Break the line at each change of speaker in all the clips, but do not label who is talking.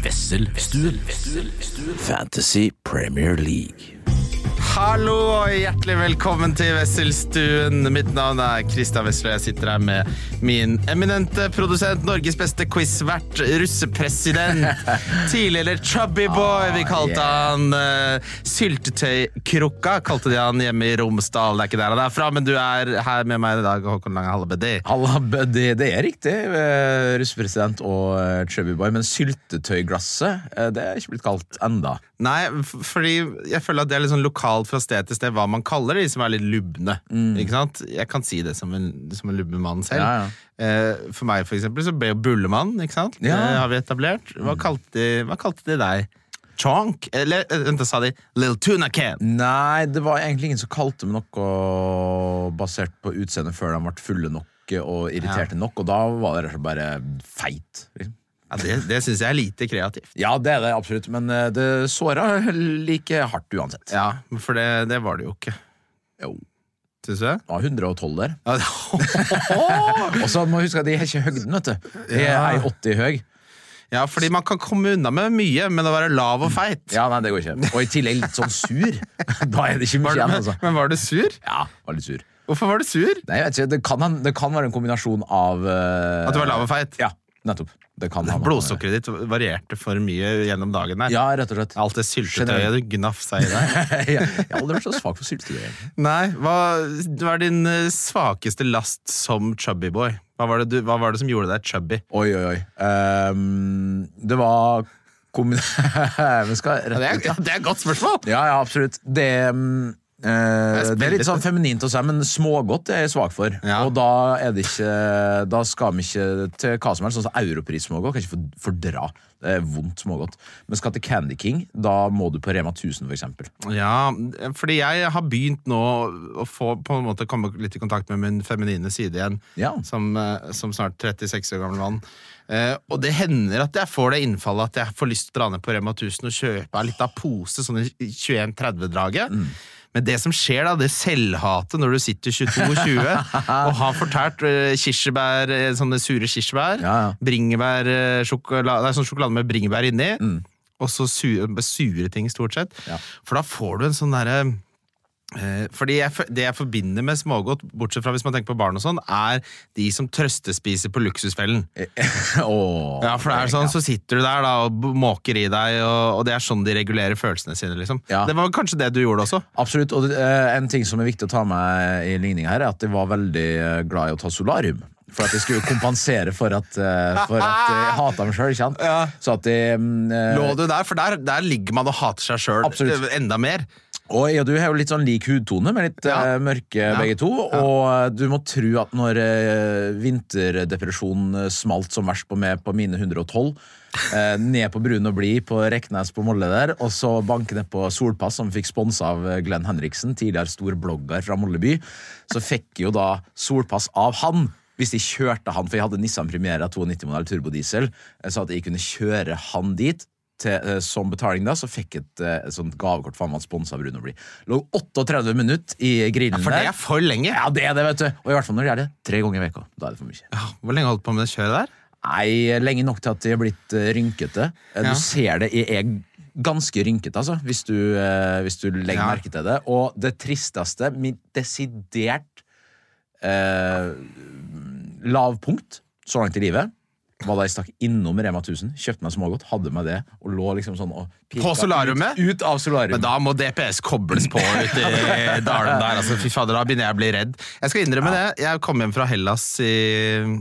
Wesselstuen. Fantasy Premier League.
Hallo og hjertelig velkommen til Wesselstuen. Mitt navn er Kristian Wessel, og jeg sitter her med min eminente produsent, Norges beste quizvert, russepresident, tidligere Chubby Boy, vi kalte han eh, Syltetøykrukka, kalte de han hjemme i Romsdal. Det er ikke der han er fra, men du er her med meg i dag, Håkon Lange Hallebøddi.
Halla, det, det er riktig. eh, Russepresident og eh, Chubby Boy. Men syltetøyglasset eh, det er ikke blitt kalt enda.
Nei, f- fordi jeg føler at det er litt sånn lokalt fra sted til sted hva man kaller de som er litt lubne. Ikke sant? Jeg kan si det som en, som en lubben mann selv.
Ja, ja.
Eh, For meg, for eksempel, så ble jo Bullemann, ikke sant?
Ja.
Det har vi etablert. Hva kalte de, hva kalte de deg? Chonk? Eller eh, vent, da sa de Little Tuna Can.
Nei, det var egentlig ingen som kalte meg noe basert på utseendet før de ble fulle nok og irriterte nok, og da var det rett og slett bare feit. liksom.
Ja, det det syns jeg er lite kreativt.
Ja, det er det absolutt, men eh, det såra like hardt uansett.
Ja, For det, det var det jo ikke.
Jo,
Syns du det?
det var 112 der.
Ja, det-
Og så må du huske at de er ikke høgden, vet du. De er
Ja.
1,80 høy.
ja, fordi man kan komme unna med mye, men å være lav og feit
Ja, nei, det går ikke. Og i tillegg litt sånn sur. Da er det ikke mye
Var du,
igjen,
men,
altså.
men var du sur?
Ja, var litt sur.
Hvorfor var du sur?
Nei, jeg vet ikke, det kan, han- det kan være en kombinasjon av eh,
At du var lav og feit?
Ja, nettopp. Det kan ha noe-
Blodsukkeret ditt varierte for mye gjennom dagen der.
Ja, rett og slett.
Alt det syltetøyet du gnafsa i deg.
jeg har aldri vært så svak for syltetøy. egentlig.
Nei, hva, hva er din eh, svakeste last som chubby boy? Hva var, det du, hva var det som gjorde deg chubby?
Oi, oi, oi. Ehm, det var kombi... Vi skal rett ut, ja.
et godt spørsmål!
Ja, ja, absolutt. Det, mm, eh,
Jeg
det er litt
spiller-
sånn feminint å si, men smågodt er jeg svak for.
Ja.
Og da, er det ikke, da skal vi ikke til hva som helst. Sånn som Europris-smågodt kan jeg ikke for- fordra. Det er vondt smågodt. Men skal til Candy King, da må du på Rema 1000, for eksempel.
Ja, fordi jeg har begynt nå å få, på en måte komme litt i kontakt med min feminine side igjen,
Ja.
som, eh, som snart 36 år gammel mann. Eh, og det hender at jeg får det innfallet at jeg får lyst til å dra ned på Rema 1000 og kjøpe en liten pose sånn i 21-30-draget. Men det som skjer, da, det selvhatet når du sitter 22-20 og har fortært eh, kirsebær, eh, sånne sure kirsebær,
Ja, ja.
bringebær, eh, sjokolade, nei, sånn sjokolade med bringebær inni, og så sure, sure ting stort sett.
Mm. Ja.
For da får du en sånn derre eh, fordi jeg, f- Det jeg forbinder med smågodt, bortsett fra hvis man tenker på barn, og sånn, er de som trøstespiser på Luksusfellen.
Åh,
Ja, for det er sånn, Så sitter du der da, og b- måker i deg, og, og det er sånn de regulerer følelsene sine. liksom.
Ja.
Det var kanskje det du gjorde også?
Absolutt. Og det, eh, en ting som er viktig å ta med i ligninga her, er at jeg var veldig eh, glad i å ta solarium. For at jeg skulle kompensere for at, eh, for at jeg hata meg sjøl, ikke sant.
Ja.
Så at jeg mm, eh,
Lå du der? For der, der ligger man og hater seg sjøl
Absolutt.
enda mer.
Og jeg og du har jo litt sånn lik hudtone, med litt
Ja.
eh, mørke begge to. Og eh, du må tro at når eh, vinterdepresjonen eh, smalt som verst på meg på mine 112, eh, ned på Brun og Blid på Reknes på Molle der, og så banke ned på Solpass, som fikk sponsa av eh, Glenn Henriksen, tidligere stor blogger fra Molle by, så fikk jeg jo da Solpass av han. Hvis de kjørte han, for jeg hadde Nissan Primera 92-modell turbodiesel, eh, så at jeg kunne kjøre han dit til, eh, som betaling da, så fikk jeg et, eh, et sånt gavekort for han var sponset av Bruno Bli. Lå 38 minutter i grillen
For det
der.
er for lenge.
Ja, det er det, vet du. Og i hvert fall når det er det tre ganger i veka. Da er det for mye.
Hvor lenge holdt du på med det kjøret der?
Nei, lenge nok til at jeg er blitt eh, rynkete. Eh,
Ja.
Du ser det, jeg er ganske rynkete, altså, hvis du, eh, hvis du legger
Ja.
merke til det. Og det tristeste, mitt desidert eh, lavpunkt så langt i livet, var da jeg stakk innom Rema 1000, kjøpte meg smågodt, hadde med det, og lå liksom sånn og pirka
På solariumet?
Ut, ut av solariumet.
Men da må DPS kobles på ute i dalen der. Altså, fy fader, da begynner jeg å bli redd. Jeg skal innrømme det. Jeg kom hjem fra Hellas i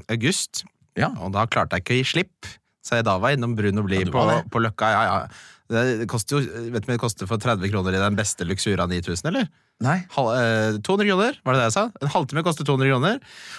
august,
ja.
og da klarte jeg ikke å gi slipp. Så jeg da var innom Brun og Blid
du
på,
var det.
på Løkka. Ja, ja. Det koster jo vet du hva det koster for 30 kroner i den beste Luxura 9000, eller?
Nei.
Hal, eh, 200 kroner, var det det jeg sa? En halvtime koster 200 kroner.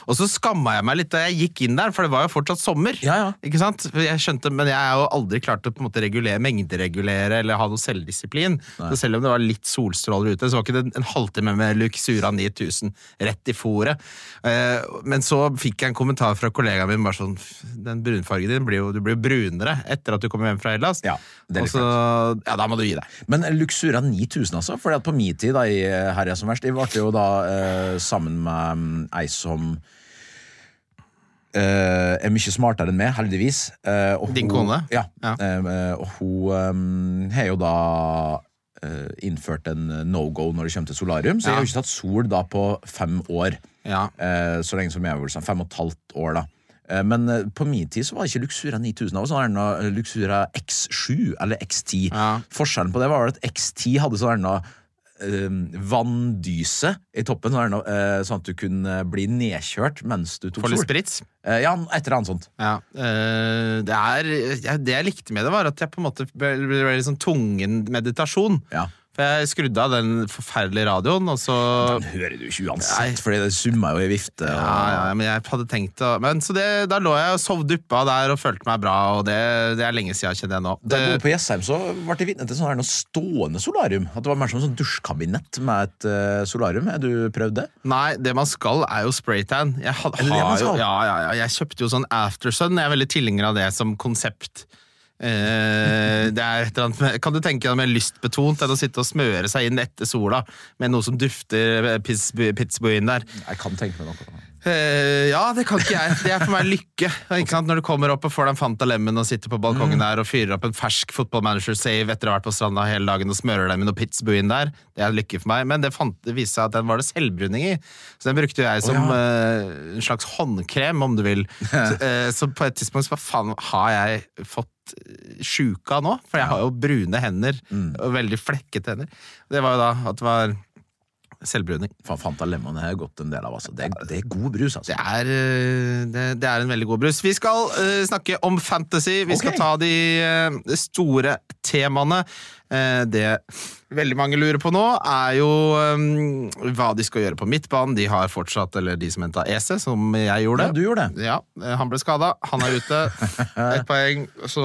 Og så skamma jeg meg litt da jeg gikk inn der, for det var jo fortsatt sommer.
Ja, ja.
Ikke sant? For Jeg skjønte, men jeg har jo aldri klart å på en måte regulere, mengderegulere eller ha noe selvdisiplin. Så selv om det var litt solstråler ute, så var ikke det en halvtime med Luxura 9000 rett i fòret. Eh, Men så fikk jeg en kommentar fra kollegaen min bare sånn Den brunfargen din blir jo, du blir jo brunere etter at du kommer hjem fra Hellas.
Ja, det er
Og
litt
så, ja, da må du gi deg.
Men Luxura 9000, altså? Fordi at på min tid, da, i eh, Herja som verst, jeg ble jo da eh, sammen med mm, ei som eh, er mye smartere enn meg, heldigvis. Eh, og
Din
hun-
kone?
Ja.
Ja.
Eh, og hun eh, har jo da eh, innført en no go når det kommer til solarium, så jeg har jo ikke tatt sol da på fem år.
Ja.
Eh, så lenge som jeg har vært sånn. Fem og et halvt år, da. Eh, men eh, på min tid så var det ikke Luxura 9000. av oss, sånn der, eh, Luxura X7 eller X10.
Ja.
Forskjellen på det var at X10 hadde sånn der, eh, vanndyse i toppen, sånn, der, eh, sånn at du kunne bli nedkjørt mens du tok
Får litt
sol.
sprits.
Eh, ja, et eller annet sånt.
Ja. eh, det, er, ja, det jeg likte med det, var at jeg på en måte ble, ble litt sånn tvungen meditasjon.
Ja.
For jeg skrudde av den forferdelige radioen, og så
Den Sånn hører du ikke
Nei.
uansett, fordi det summer jo i vifte. Og...
ja, ja, men jeg hadde tenkt å, men så det, Da lå jeg og sov duppa der og følte meg bra, og det, det er lenge siden jeg har kjent det nå.
Da jeg bodde på Jessheim, så ble jeg vitne til sånn her noe stående solarium. At det var mer som et sånn dusjkabinett med et eh, solarium. Har du prøvd det?
Nei, det man skal er jo spraytan. Jeg, had,
det det man
har jo,
skal?
ja, ja, ja, jeg kjøpte jo sånn Aftersun. Jeg er veldig tilhenger av det som konsept. Eh, det er et eller annet med, kan du tenke deg mer lystbetont enn å sitte og smøre seg inn etter sola med noe som dufter eh, Pittsburgh Pittsburgh inn der?
Jeg kan tenke meg noe.
Eh, ja, det kan ikke jeg. Det er for meg lykke. Ikke sant? Når du kommer opp og får deg en Fanta Lemon og sitter på balkongen der og fyrer opp en fersk Football Manager Save etter å ha vært på stranda hele dagen og smører deg med noe Pitzbu inn der, det er lykke for meg. Men det, fant, det viste seg at den var det selvbruning i, så den brukte jo jeg som
ja.
eh, en slags håndkrem, om du vil. Så, eh, så på et tidspunkt så hva faen har jeg fått eh, sjuka nå? For jeg har jo brune hender, og veldig flekkete hender. Det var jo da at det var selvbruning.
Faen, Fanta Lemon har jeg gått en del av. Altså. Det, er, det er god brus, altså.
Det er, øh, det, det er en veldig god brus. Vi skal øh, snakke om fantasy. Vi skal
Ok.
ta de øh, store temaene. Eh, det veldig mange lurer på nå, er jo øhm, hva de skal gjøre på midtbanen. De har fortsatt, eller de som henta EC, som jeg gjorde.
Ja, du gjorde det.
Ja, eh, han ble skada. Han er ute. Ett poeng. Så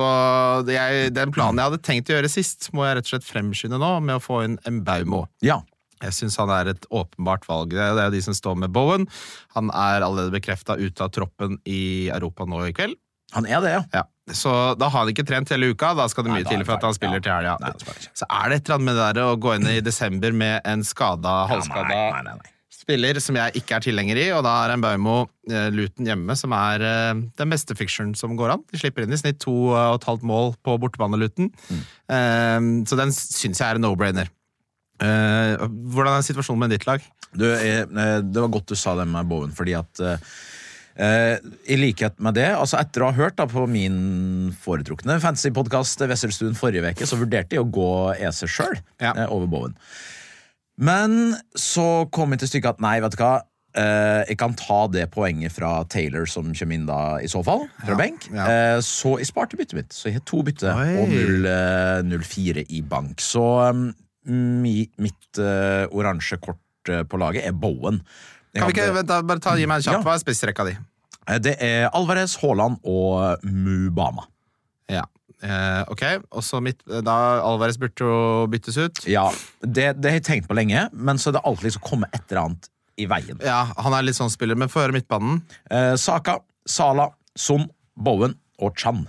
det- jeg, den planen jeg hadde tenkt å gjøre sist, må jeg rett og slett fremskynde nå med å få inn Mbaumo.
Ja.
Jeg syns han er et åpenbart valg. Det er jo de som står med Bowen. Han er allerede bekrefta ute av troppen i Europa nå i kveld.
Han er det, ja.
Ja. Så da har han ikke trent hele uka. Da skal det
Nei,
mye
da er
til
det
for at
feil.
han spiller
Ja.
til
Nei,
helga.
det spiller ikke.
Så er det et eller annet med det der å gå inn i desember med en skada, halvskada
Nei, nei, nei.
spiller som jeg ikke er tilhenger i, og da er en Baumo eh, Luton hjemme, som er eh, den beste fiction som går an. De slipper inn i snitt to eh, og et halvt mål på bortebane Luton,
Mm.
Eh, så den syns jeg er en no-brainer. Eh, hvordan er situasjonen med ditt lag?
Du, eh, eh, det var godt du sa det med Bowen, fordi at eh, eh, I likhet med det, altså etter å ha hørt da på min foretrukne fantasypodkast Wesselstuen forrige uke, så vurderte jeg å gå EC sjøl
Ja.
eh, over Bowen. Men så kom jeg til stykket at nei, vet du hva. eh, jeg kan ta det poenget fra Taylor, som kommer inn da, i så fall, fra benk.
ja.
Eh, så jeg sparte byttet mitt. Så jeg har to bytte
Oi.
og 0 0, eh, 0-4 i bank. Så um, mi, mitt eh, oransje kort eh, på laget er Bowen. Jeg
Kan vi ikke
hadde-
vent da, bare ta, gi meg en
Ja.
kjapp? Hva er spissrekka di?
Eh, Det er Alvarez, Haaland og Mubama.
Ja. Eh, ok, og så mitt Da Alvarez burde jo byttes ut.
Ja, det, det har jeg tenkt på lenge, men så er det alltid liksom kommet et eller annet i veien.
Ja, han er litt sånn spiller, men få høre midtbanen.
Eh, Saka, Sala, Son, Bowen og Chan.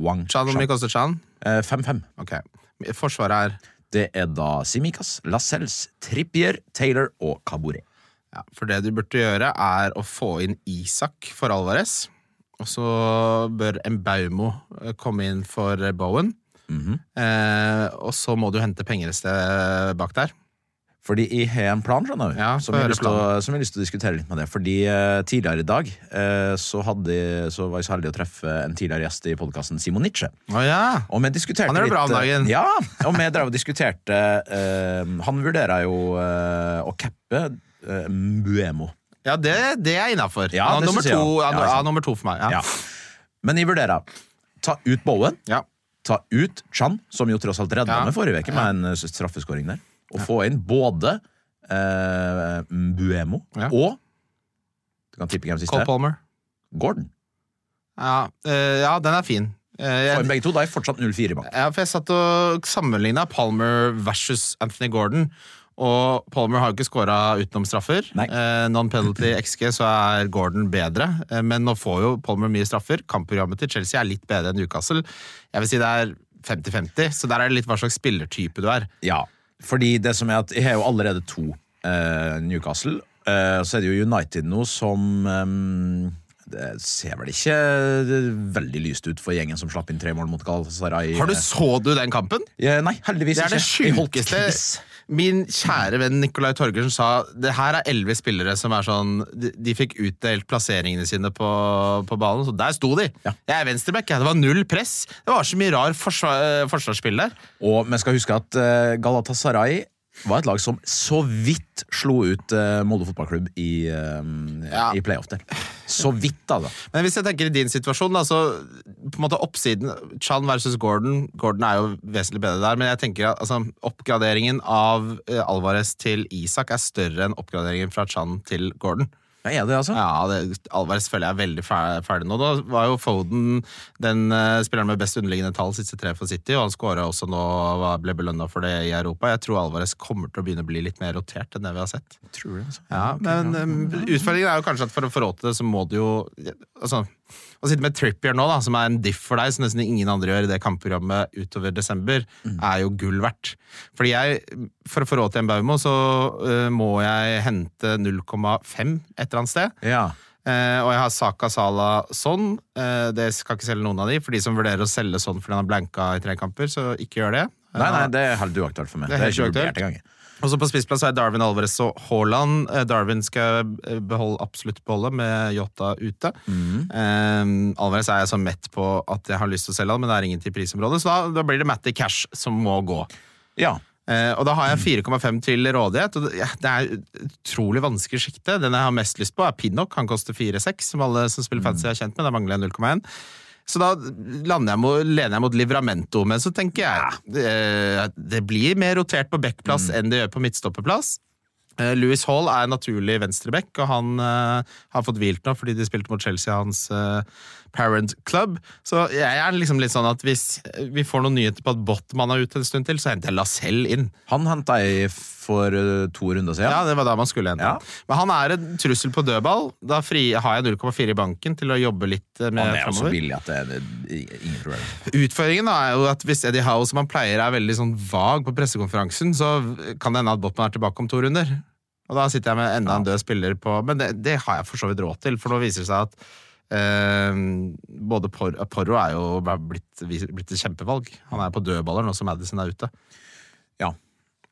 Wang
Chan, hvor
Chan.
mye koster Chan?
Eh, 5-5.
Ok. Forsvaret er
Det er da Simikaz, Lascelles, Trippier, Taylor og Kabore.
Ja, for det du burde gjøre er å få inn Isak for Alvarez, og så bør Mbaumo eh, komme inn for Bowen.
Mhm.
eh, og så må du hente penger et sted bak der.
Fordi jeg har en plan, skjønner du,
Ja,
som,
få
jeg har
høre
lyst til å, som jeg har lyst til å diskutere litt med deg. Fordi eh, tidligere i dag eh, så, hadde, så var jeg så heldig å treffe en tidligere gjest i podkasten, Simon Nietzsche.
Å ja!
Og vi diskuterte
Han gjør det
litt,
bra om dagen.
eh, Ja, og vi drev og diskuterte eh, Han vurderer jo eh, å cappe eh, Mbuemo.
Ja, det, det er innafor.
Ja,
han,
det
er nummer
synes jeg
to-
også.
han,
Ja, ikke
han
sant.
er nummer to for meg. Ja.
Ja. Men jeg vurderer ta ut Bowen,
Ja.
ta ut Chan, som jo tross alt redda
Ja.
meg forrige uke med en eh, straffeskåring der, og få inn både eh, Mbuemo
Ja.
og Du kan tippe hvem siste
Cole
er.
Palmer.
Gordon.
Ja, eh, ja, den er fin. Eh,
Får
jeg,
inn begge to, da er jeg fortsatt 0-4 i bank.
Ja, for jeg satt og sammenligna Palmer versus Anthony Gordon. Og Palmer har jo ikke skåra utenom straffer.
Nei.
Eh, Non-penalty XG, så er Gordon bedre. Eh, men nå får jo Palmer mye straffer. Kampprogrammet til Chelsea er litt bedre enn Newcastle. Jeg vil si det er 50-50, så der er det litt hva slags spillertype du er.
Ja, fordi det som er at jeg har jo allerede to eh, Newcastle. Eh, så er det jo United nå som eh, det ser vel ikke eh, veldig lyst ut for gjengen som slapp inn tre mål mot Galatasaray.
Har du Så du den kampen?
Ja, Nei, heldigvis
Det er det
ikke. Jeg holdt
sjukeste
kris.
Min kjære venn Nicolai Torgersen sa det her er elleve spillere som er sånn De, de fikk utdelt plasseringene sine på, på banen, så der sto de.
Ja.
Jeg er venstreback. jeg. Det var null press. Det var så mye rar forsvar, eh, forsvarsspill der.
Og vi skal huske at eh, Galatasaray var et lag som så vidt slo ut eh, Molde fotballklubb i, eh,
Ja.
i playoff der. Så vidt, altså.
Men hvis jeg tenker i din situasjon, da, så på en måte oppsiden Chan versus Gordon Gordon er jo vesentlig bedre der, men jeg tenker at altså, oppgraderingen av eh, Alvarez til Isak er større enn oppgraderingen fra Chan til Gordon.
Ja, er det altså?
Ja, det, Alvarez føler jeg er veldig fer- ferdig nå. Da var jo Foden den eh, spilleren med best underliggende tall siste tre for City, og han skåra også nå og var- ble belønna for det i Europa. Jeg tror Alvarez kommer til å begynne å bli litt mer rotert enn det vi har sett.
Tror du det, altså?
Ja, men eh, utfordringen er jo kanskje at for å forråte det, så må du jo Altså, å sitte med Trippier nå, da, som er en diff for deg, som nesten ingen andre gjør i det kampprogrammet utover desember, er jo gull verdt. Fordi jeg, for å forråte en Baumo, så eh, må jeg hente 0,5 et eller annet sted.
Ja.
Eh, og jeg har Saka Sala sånn. Eh, det skal ikke selge noen av de. For de som vurderer å selge sånn fordi han har blanka i tre kamper, så ikke gjør det.
Nei, nei, det er helt uaktuelt for meg.
Det er
Det er
helt
ikke
uaktuelt.
vurdert engang.
Og så på spissplass er Darwin Alvarez og Haaland. Eh, Darwin skal jeg beholde, absolutt beholde, med Jota ute.
Mhm.
Eh, Alvarez er jeg så mett på at jeg har lyst til å selge han, men det er ingen til prisområdet, så da, da blir det Matty Cash som må gå.
Ja.
Eh, og da har jeg 4,5 til rådighet, og det- ja, det er et utrolig vanskelig sjikte. Den jeg har mest lyst på, er Pinnock. Han koster 4,6, som alle som spiller fancy er kjent med. Da mangler jeg 0,1. Så da lander jeg mot, lener jeg mot Livramento, men så tenker jeg eh, Det blir mer rotert på backplass enn det gjør på midtstoppeplass. Eh, Louis Hall er naturlig venstreback, og han eh, har fått hvilt nå fordi de spilte mot Chelsea, hans eh, parent club. Så jeg er liksom litt sånn at hvis vi får noen nyheter på at Botman er ute en stund til, så henter jeg Lacelle inn.
Han henta jeg for eh, to runder siden.
Ja, det var da man skulle hente
Ja.
han. Men han er en trussel på dødball. Da fri, har jeg 0,4 i banken til å jobbe litt eh, med
Han er jo så
fremover.
billig at det er det er ingen problem.
Utfordringen da er jo at hvis Eddie Howe, som han pleier, er veldig sånn vag på pressekonferansen, så kan det hende at Botman er tilbake om to runder. Og da sitter jeg med enda en død spiller på Men det, det har jeg for så vidt råd til, for nå viser det seg at eh, både Por Porro er jo blitt, blitt et kjempevalg. Han er på dødballer nå som Madison er ute.
Ja.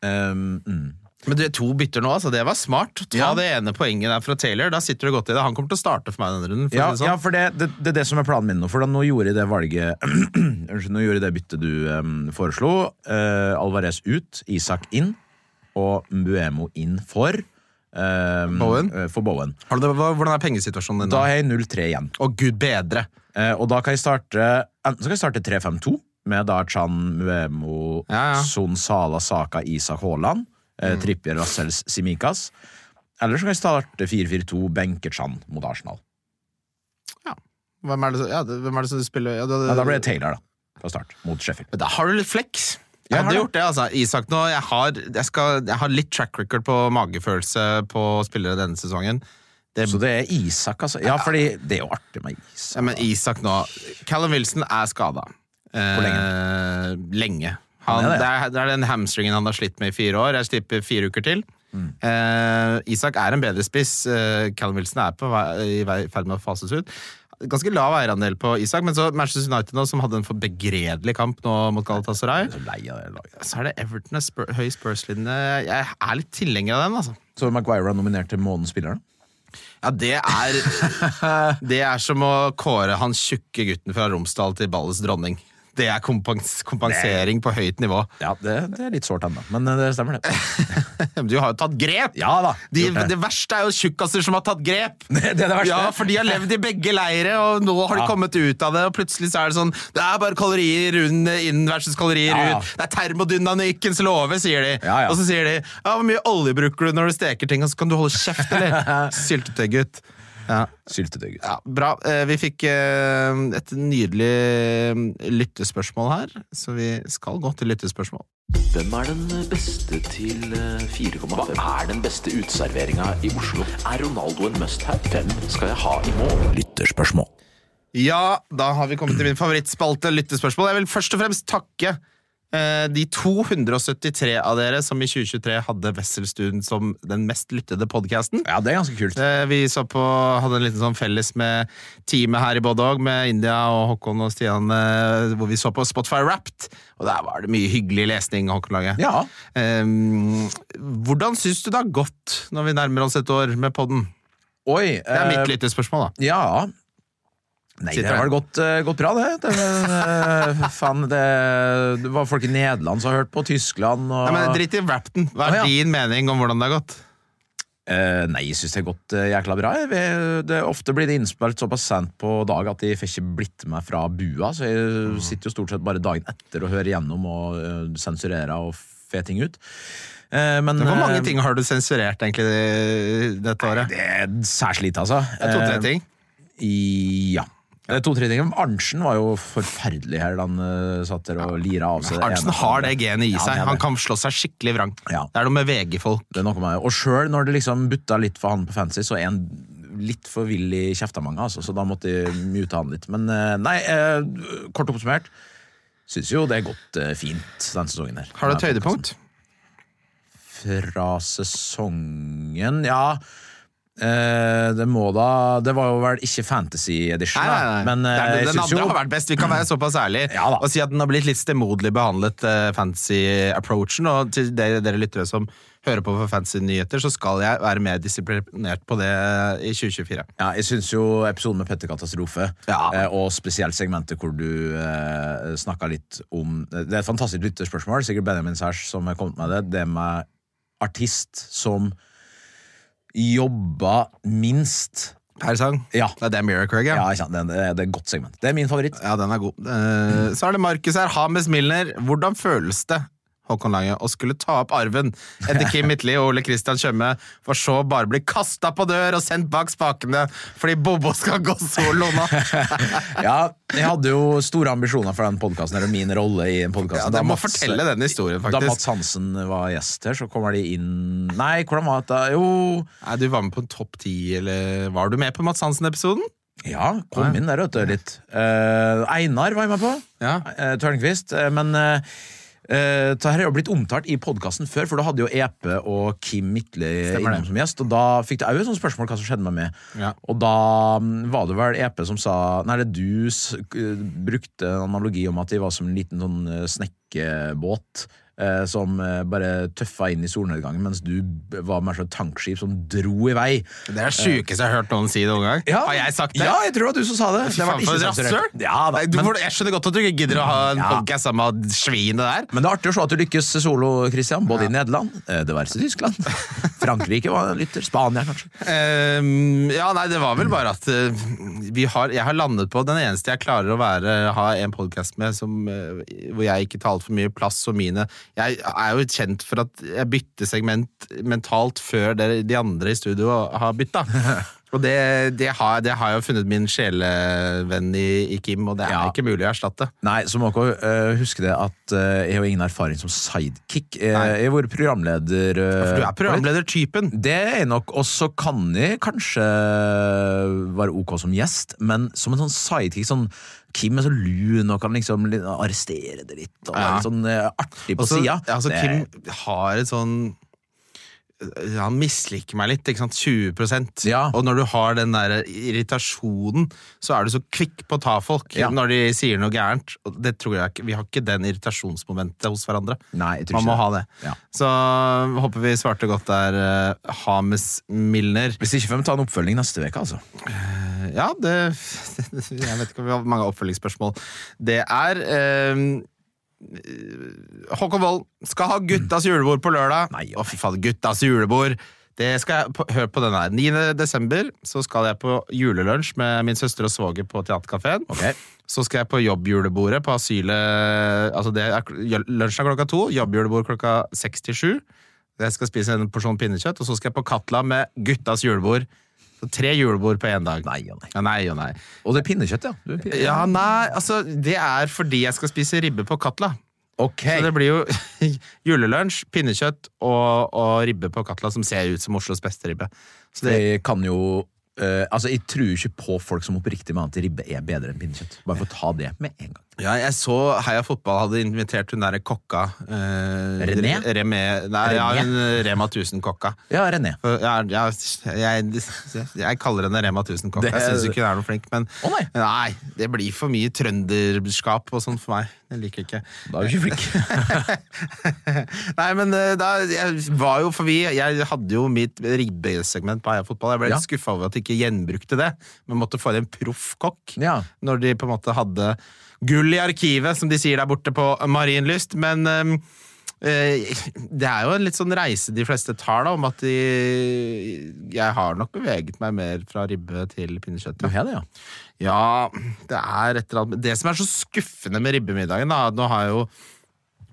Ehm, mm.
Men du, to bytter nå, altså. Det var smart. Ta
Ja.
det ene poenget der fra Taylor. Da sitter du godt i det. Han kommer til å starte for meg denne runden. For
ja,
å si det sånn.
ja, for det, det, det er det som er planen min nå. For da, nå gjorde jeg det valget Unnskyld, nå gjorde jeg det byttet du em, foreslo. Eh, Alvarez ut, Isak inn og Mbuemo inn for em,
Bowen?
eh, For Bowen.
Har du det, hva- hvordan er pengesituasjonen din
Da
nå?
har jeg 0-3 igjen.
Å, gud bedre!
Eh, og da kan jeg starte Enten så kan jeg starte 3-5-2 med da Chan, Mbuemo,
Ja, Mm. ja.
Son Sala, Saka, Isak Haaland. eh, Trippier, Rassels, Simikas. Eller så kan jeg starte 4-4-2, benke Chan mot Arsenal.
Hvem er det, som- ja, det- hvem er det som du spiller ja, det,
Ja, da blir det Taylor, da. Fra start, mot Sheffield.
Men da har du litt flex. Jeg
Jeg har
hadde
det.
gjort det, altså. Isak nå, jeg har, jeg, skal, jeg har litt track record på magefølelse på spillere denne sesongen. Det,
Så det er Isak, altså? Ja, fordi det er jo artig med
ja,
Isak.
men Isak nå Callum Wilson er skada.
Hvor
lenge? Lenge. Han,
Han er
det,
det,
er, det er den hamstringen han har slitt med i fire år. Jeg slipper fire uker til. Eh, Isak er en bedre spiss. Eh, Callum Wilson er på vei, i vei- i ferd med å fases ut. Ganske lav eierandel på Isak, men så Manchester United nå, som hadde en for begredelig kamp nå mot Galatasaray.
Jeg er så lei av det laget.
så er det Everton og Spur høy Spurs-linje. Jeg er litt tilhenger av den, altså.
Så Maguire er nominert til månedens spiller, da?
Ja, det er Det er som å kåre han tjukke gutten fra Romsdal til ballets dronning. Det er kompens kompensering på høyt nivå.
Ja, det, det er litt sårt ennå, men eh, det stemmer, det.
Du har jo tatt grep!
Ja da!
De,
gjort det.
det verste er jo tjukkaser som har tatt grep!
Det er det verste.
Ja, for de har levd i begge leire, og nå har de
Ja.
kommet ut av det, og plutselig så er det sånn Det er bare kalorier inn, inn versus kalorier
Ja, ja.
ut. Det er termodynamikkens love, sier de.
Ja, ja.
Og så sier de ja, hvor mye olje bruker du når du steker ting, og så kan du holde kjeft, eller? Syltetøygutt. Ja.
Syltetøy, gutt.
ja, bra. Eh, Vi fikk eh, et nydelig eh, lyttespørsmål her, så vi skal gå til lyttespørsmål.
Hvem er den beste til eh, 4,5? Hva er den beste uteserveringa i Oslo? Er Ronaldo en must-have? Hvem skal jeg ha i mål?
Lytterspørsmål.
Ja, da har vi kommet til min favorittspalte lyttespørsmål. Jeg vil først og fremst takke eh, de 273 av dere som i 2023 hadde Wesselstuen som den mest lyttede podkasten.
Ja, det er ganske kult.
Eh, Vi så på, hadde en liten sånn felles med teamet her i Bodog, med India og Håkon og Stian, eh, hvor vi så på Spotfire Wrapped. Og der var det mye hyggelig lesning, Håkon-laget.
Ja.
Ehm, hvordan syns du det har gått når vi nærmer oss et år med podden?
Oi.
Det er
eh,
mitt lyttespørsmål, da.
Ja. Nei,
Sitter
det har
her.
gått, eh, gått bra, det. det, men, eh, faen, det. Det var folk i Nederland som har hørt på, Tyskland og
Nei, men Drit i Wrapped-en. Hva
Å,
er
ja.
din mening om hvordan det har gått?
Eh, nei, jeg syns det har gått eh, jækla bra. Jeg, vet- det, ofte blir det innspilt såpass sent på dag at jeg får ikke blitt med fra bua, så
Mm.
jeg sitter jo stort sett bare dagen etter og hører gjennom og eh, sensurerer og får ting ut. Eh, men
Hvor mange
eh,
ting har du sensurert egentlig dette året? Ehm,
Det er særs lite, altså.
To-tre
Eh,
ting?
Ja. Det er to-tre ting. Arntzen var jo forferdelig her da han eh, satt der og lira av seg. det
Arntzen
ene.
har det genet i
Ja,
seg.
det er
Han
det.
kan slå seg skikkelig vrang.
Ja.
Det er noe med VG-folk.
Det er noe med det. Og sjøl når det liksom butta litt for han på fancy, så er han litt for vill i kjeftemanget, altså. Så da måtte jeg mute han litt. Men eh, nei, eh, kort oppsummert. Syns jo det er gått eh, fint denne sesongen her.
Har du et høydepunkt?
Fra sesongen, ja. eh, det må da Det var jo vel ikke Fantasy Edition,
Nei, nei, nei.
da. men eh,
Det er-
jeg
den
syns
andre
jo
har vært best. Vi kan være såpass ærlige
Ja da.
og si at den har blitt litt stemoderlig behandlet, eh, fantasy-approachen. Og til dere, dere lyttere som hører på for fantasy-nyheter, så skal jeg være mer disiplinert på det eh, i 2024.
Ja, jeg syns jo episoden med Petter Katastrofe,
Ja.
eh, og spesielt segmentet hvor du eh, snakka litt om eh, Det er et fantastisk lytterspørsmål, sikkert Benjamin Sæsj som har kommet med det. Det med artist som jobba minst
Per sang.
Ja,
Det er det Mira Craig,
ja
ja.
ikke sant, det, det er et godt segment. Det er min favoritt.
Ja, den er god. Eh, Så er det Markus her. Hames Milner. Hvordan føles det? Håkon Lange, å skulle ta opp arven etter Kim Midtli og Ole Kristian Tjøme, for så bare bli kasta på dør og sendt bak spakene fordi Bobo skal gå solo nå.
Ja, jeg hadde jo store ambisjoner for den podkasten, eller min rolle i den podkasten.
Ja, du må fortelle den historien,
eh, Da
faktisk.
Mats Hansen var gjest her, så kommer de inn Nei, hvordan var det? Jo
Nei, Du var med på en topp ti, eller var du med på Mads Hansen-episoden?
Ja, kom inn der, vet du, litt. Eh, Einar var jeg med på.
Ja.
Eh, Tørnquist. Eh, men uh, dette her er jo blitt omtalt i podkasten før, for da hadde jo EP og Kim Midtly
Stemmer det.
innom som gjest. Og da fikk det òg et sånt spørsmål hva som skjedde med meg.
Ja.
Og da mm, var det vel EP som sa Nei, det du s k- brukte en analogi om at de var som en liten sånn eh, snekkebåt. eh, Som eh, bare tøffa inn i solnedgangen, mens du b- var mer som et tankskip som dro i vei.
Det er det sjukeste jeg har hørt noen si noen gang. Har jeg sagt det?
Ja, jeg tror det var du som sa det.
Fy
Det var
faen,
ikke
for et
sensurert.
rasshøl!
Ja, da,
Nei, du
men-
får- Jeg skjønner godt at du ikke gidder å ha en
Ja.
podcast sammen med svinet der.
Men det er artig å se at du lykkes solo, Christian. Både i Nederland, eh, det verste Tyskland, Frankrike var en lytter, Spania kanskje.
Ehm, ja, nei, det var vel bare at eh, vi har, jeg har landet på den eneste jeg klarer å være, ha en podkast med som, eh, hvor jeg ikke tar altfor mye plass og mine Jeg er jo kjent for at jeg bytter segment mentalt før dere, de andre i studio har bytta. Og det, det, har, det har jeg jo funnet min sjelevenn i, i Kim, og det er
Ja.
ikke mulig å erstatte.
Nei, så må dere eh, huske det at eh, jeg har jo ingen erfaring som sidekick. Eh, jeg har vært programleder. eh,
Du er programledertypen.
Det er jeg nok, og så kan jeg kanskje være ok som gjest, men som en sånn sidekick, sånn Kim er så lun og kan liksom li- arrestere det litt, og
Ja.
er litt sånn eh, artig på
Altså,
sida.
ja, altså, Kim har et sånn øh, han misliker meg litt, ikke sant? 20
Ja.
Og når du har den der irritasjonen, så er du så kvikk på å ta folk
Ja.
når de sier noe gærent. Og det tror jeg ikke, Vi har ikke den irritasjonsmomentet hos hverandre.
Nei, jeg tror
Man
ikke
må
det.
ha det.
Ja.
Så øh, håper vi svarte godt der, eh, Hames Milner.
Hvis ikke får vi ta en oppfølging neste uke, altså.
Ja, det Jeg vet ikke om vi har mange oppfølgingsspørsmål. Det er eh, Håkon Wold skal ha guttas julebord på lørdag.
Nei,
Å, fy faen, guttas julebord! Det skal jeg på, Hør på den her. 9. desember så skal jeg på julelunsj med min søster og svoger på Theatercaféen.
Ok.
Så skal jeg på jobbjulebordet på asylet Altså det er, Lunsjen er klokka to, jobbjulebord klokka seks til sju. Jeg skal spise en porsjon pinnekjøtt, og så skal jeg på Katla med guttas julebord. Så tre julebord på én dag.
Nei og nei.
Ja, nei og nei.
Og det er pinnekjøtt, ja. Du er pinne-
Ja, nei, altså Det er fordi jeg skal spise ribbe på Katla.
Ok.
Så det blir jo julelunsj, pinnekjøtt og, og ribbe på Katla, som ser ut som Oslos beste ribbe. Så det,
Jeg kan jo eh, Altså, jeg tror ikke på folk som oppriktig mener at ribbe er bedre enn pinnekjøtt. Bare for å ta det med en gang.
Ja, jeg så Heia Fotball hadde invitert hun derre kokka eh,
René?
Re- Remé, nei,
René?
Ja, hun eh, Rema 1000-kokka.
Ja, René.
Ja, ja, jeg, jeg kaller henne Rema 1000-kokka.
Det-
Jeg syns ikke hun er noe flink, men
Å, nei.
det blir for mye trønderskap og sånn for meg. Jeg liker ikke.
Da er du ikke flink.
Nei, men eh, da, jeg var jo forbi Jeg hadde jo mitt ribbesegment på Heia Fotball. Jeg ble litt
Ja.
skuffa over at de ikke gjenbrukte det, men måtte få inn en proff kokk.
Ja.
Når de på en måte hadde gull i arkivet, som de sier der borte på Marienlyst. Men ehm, eh, det er jo en litt sånn reise de fleste tar, da, om at de Jeg har nok beveget meg mer fra ribbe til pinnekjøtt.
Du
Ja.
har det, ja.
Ja, det er et eller annet Det som er så skuffende med ribbemiddagen, da Nå har jeg jo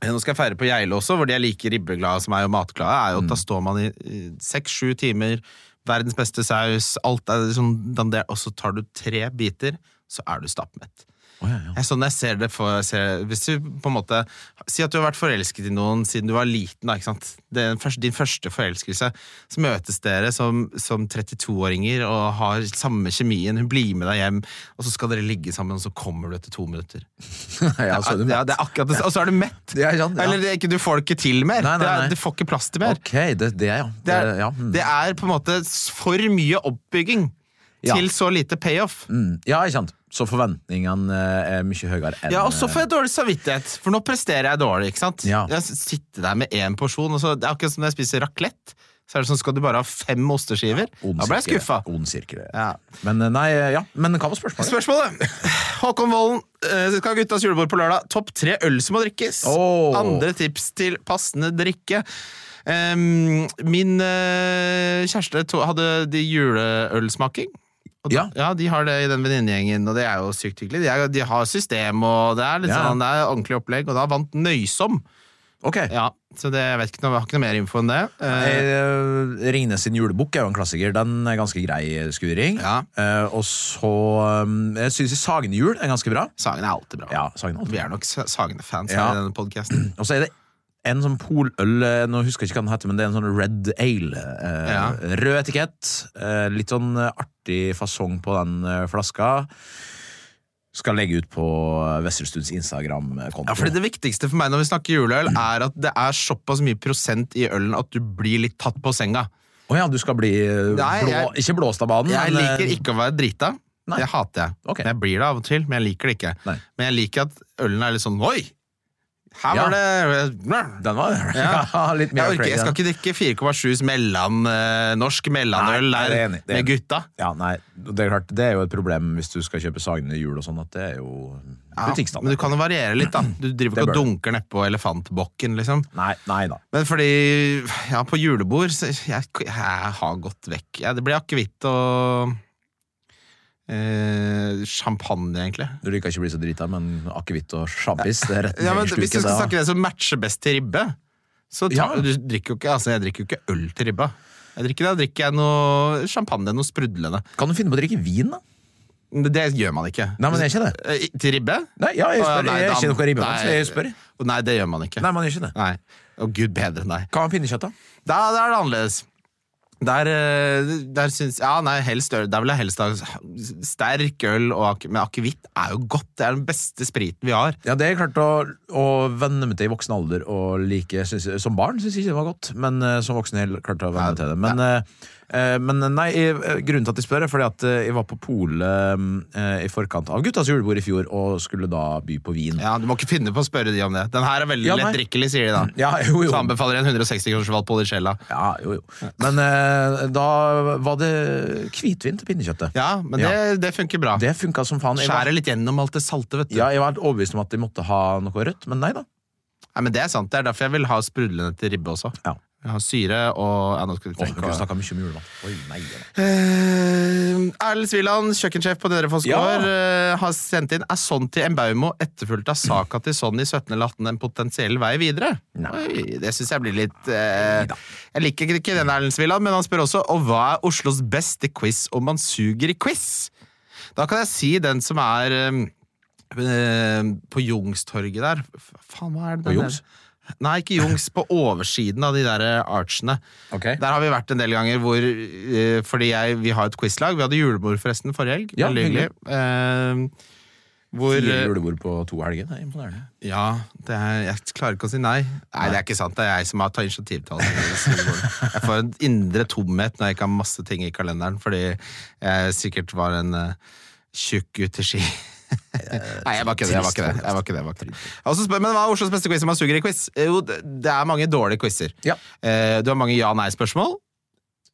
eh, nå skal jeg feire på Geilo også, hvor de er like ribbeglade som meg og matglade. er jo at Da står man i eh, seks-sju timer, verdens beste saus, alt er sånn dandert, og så tar du tre biter, så er du stappmett.
Å, ja, ja.
Jeg, er sånn, jeg ser det for, jeg ser, hvis du på en måte Si at du har vært forelsket i noen siden du var liten. Da, ikke sant? Det er den første, din første forelskelse. Så møtes dere som, som 32-åringer og har samme kjemien. Hun blir med deg hjem, og så skal dere ligge sammen, og så kommer du etter to minutter.
ja, så er du
ja,
med.
det er akkurat det, og så er du mett!
Ja, ikke sant? Ja.
Eller det er ikke, du får det ikke til mer.
Nei, nei,
Det
nei.
er, du får ikke plass til mer.
Ok, det, det, ja.
Det er,
ja. mm.
det er på en måte s- for mye oppbygging
Ja.
til så lite payoff.
Mm. Ja, ikke sant. Så forventningene eh, er mye høyere enn
Ja, og så får jeg dårlig samvittighet, for nå presterer jeg dårlig. ikke sant?
Ja.
Jeg sitter der med én porsjon, og så det er akkurat som når jeg spiser raclette. Så er det sånn, skal du bare ha fem osteskiver?
eh, ond
da ble jeg
sirkel.
skuffa.
Ond sirkel, ja.
Ja.
Men eh, nei, eh, ja. Men hva var spørsmålet?
Spørsmålet! Håkon Vollen eh, skal ha guttas julebord på lørdag. Topp tre øl som må drikkes.
Åh.
Andre tips til passende drikke. Ehm, min eh, kjæreste to hadde de juleølsmaking. Og da,
Ja.
ja, De har det i den venninnegjengen, og det er jo sykt hyggelig. De, er, de har system, og det er litt
Ja.
sånn, det er ordentlig opplegg. Og da vant Nøysom.
Ok.
Ja, så det, jeg vet ikke, noe- jeg har ikke noe mer info enn det. Eh,
Eh, Ringnes sin julebukk er jo en klassiker. Den er ganske grei eh, skuring.
Ja.
Eh, og så eh, Jeg syns Sagene jul er ganske bra.
Sagen er alltid bra.
Ja, Sagen er alltid
Vi er nok sa- Sagene-fans
Ja.
her i denne podkasten.
Og så er det en sånn poløl eh, Nå husker jeg ikke hva den heter, men det er en sånn red ale. Eh,
Ja.
Rød etikett. Eh, litt sånn eh, artig fasong på den eh, flaska. Skal legge ut på eh, Westerstuds Instagram-konto.
Ja, fordi Det viktigste for meg når vi snakker juleøl, er at det er såpass mye prosent i ølen at du blir litt tatt på senga.
Å ja, du skal bli eh,
Nei,
blå,
jeg-
Ikke blåst av banen,
Jeg
men, eh,
liker ikke å være drita.
Nei.
Det hater jeg.
Ok.
Men Jeg blir det av og til, men jeg liker det ikke.
Nei.
Men jeg liker at ølen er litt sånn Oi! Her
Ja.
var det
Den var
Ja.
ja, litt
jeg,
mer
orker, jeg skal
crazy.
ikke drikke 4,7s mellan, eh, norsk
Nei, det er
mellanøl der
enig, det er
med
enig.
gutta.
Ja, nei, det er klart, det er jo et problem hvis du skal kjøpe Sagene jul og sånn, at det er jo
Ja,
butikkstandard.
men du kan jo variere litt, da. Du driver
Det
ikke og
bør du.
dunker nedpå elefantbokken, liksom.
Nei, nei da.
Men fordi Ja, på julebord så jeg, jeg har gått vekk. Ja, det blir akevitt og eh, champagne, egentlig.
Du liker ikke å bli så drita, men akevitt og sjampis det er rett
Ja, men
ned i
Hvis
sluket,
du skal
det, da.
snakke det som matcher best til ribbe så ta,
Ja.
du drikker jo ikke, altså Jeg drikker jo ikke øl til ribba. Jeg drikker, da drikker jeg noe champagne, noe sprudlende.
Kan du finne på å drikke vin, da?
Men Det gjør man ikke.
Nei, men det er ikke det.
Eh, Til ribbe?
Nei, ja, jeg
Å, ja,
spør.
nei,
jeg er
da-
ikke noe ribbemann, så jeg
nei,
spør.
Nei, det gjør man ikke.
Nei, man gjør ikke det.
Nei. Å, gud bedre enn deg.
Hva med pinnekjøtt, da?
Da, da er det annerledes. Der, eh, der syns Ja, nei, helst øl. Der vil jeg helst ha sterk øl, og ak men akevitt er jo godt. Det er den beste spriten vi har.
Ja, det er klart å, å venne meg til i voksen alder og like synes, jeg- Som barn syns jeg ikke det var godt, men eh, som voksen helt klart å venne meg til det. Men, eh, eh, men nei, jeg, eh, grunnen til at jeg spør, er fordi at eh, jeg var på polet eh, i forkant av guttas julebord i fjor og skulle da by på vin.
Ja, Du må ikke finne på å spørre de om det. Den her er veldig
Ja, nei.
lettdrikkelig, sier de da.
Ja, jo, jo.
Så anbefaler jeg en 160 kroners Valpolicella.
Ja, jo, jo. Men eh, da var det hvitvin til pinnekjøttet.
Ja, men Det, det funker bra.
Det funka som faen. Jeg var,
Skjærer litt gjennom alt det salte, vet du.
ja, jeg var helt overbevist om at de måtte ha noe rødt, men nei da.
Nei, men Det er sant, det er derfor jeg vil ha sprudlende til ribbe også.
Ja.
Jeg har syre og ja, nå skal vi
Åh, vi
tenke
kunne
å-
snakka mye om julemat. Oi, nei, ja.
Eh, Erlend Sviland, kjøkkensjef på Nedre Foss
Ja.
gård, eh, har sendt inn Asson til Embaumo, etterfulgt av saka til Sonny 17 eller 18, en potensiell vei videre.
Nei.
Oi, det syns jeg blir litt eh,
Neida.
Jeg liker ikke den Erlend Sviland, men han spør også Og hva er Oslos beste quiz om man suger i quiz? Da kan jeg si den som er eh, eh, på Jungstorget der. F- Faen, hva er det
På
den
Jungs?
heter? Nei, ikke Jungs. På oversiden av de der eh, archene.
Ok.
Der har vi vært en del ganger hvor eh, Fordi jeg, vi har et quizlag. Vi hadde julebord forresten forrige helg.
Ja,
Veldig hyggelig. Eh, Hvor
Fire
eh,
julebord på to helger. Det er imponerende.
Ja, det er, jeg klarer ikke å si nei. Nei, det er ikke sant. Det er jeg som har tatt initiativ til alt. det der. Jeg får en indre tomhet når jeg ikke har masse ting i kalenderen, fordi jeg sikkert var en eh, tjukk gutt i ski.
Eh,
Nei, jeg var ikke det. jeg var ikke det, jeg var ikke det, jeg var ikke det. Og så spør men Hva er Oslos beste quiz og man suger i quiz? Jo, det det er mange dårlige quizer. Eh,
Ja.
Du har mange ja-nei-spørsmål.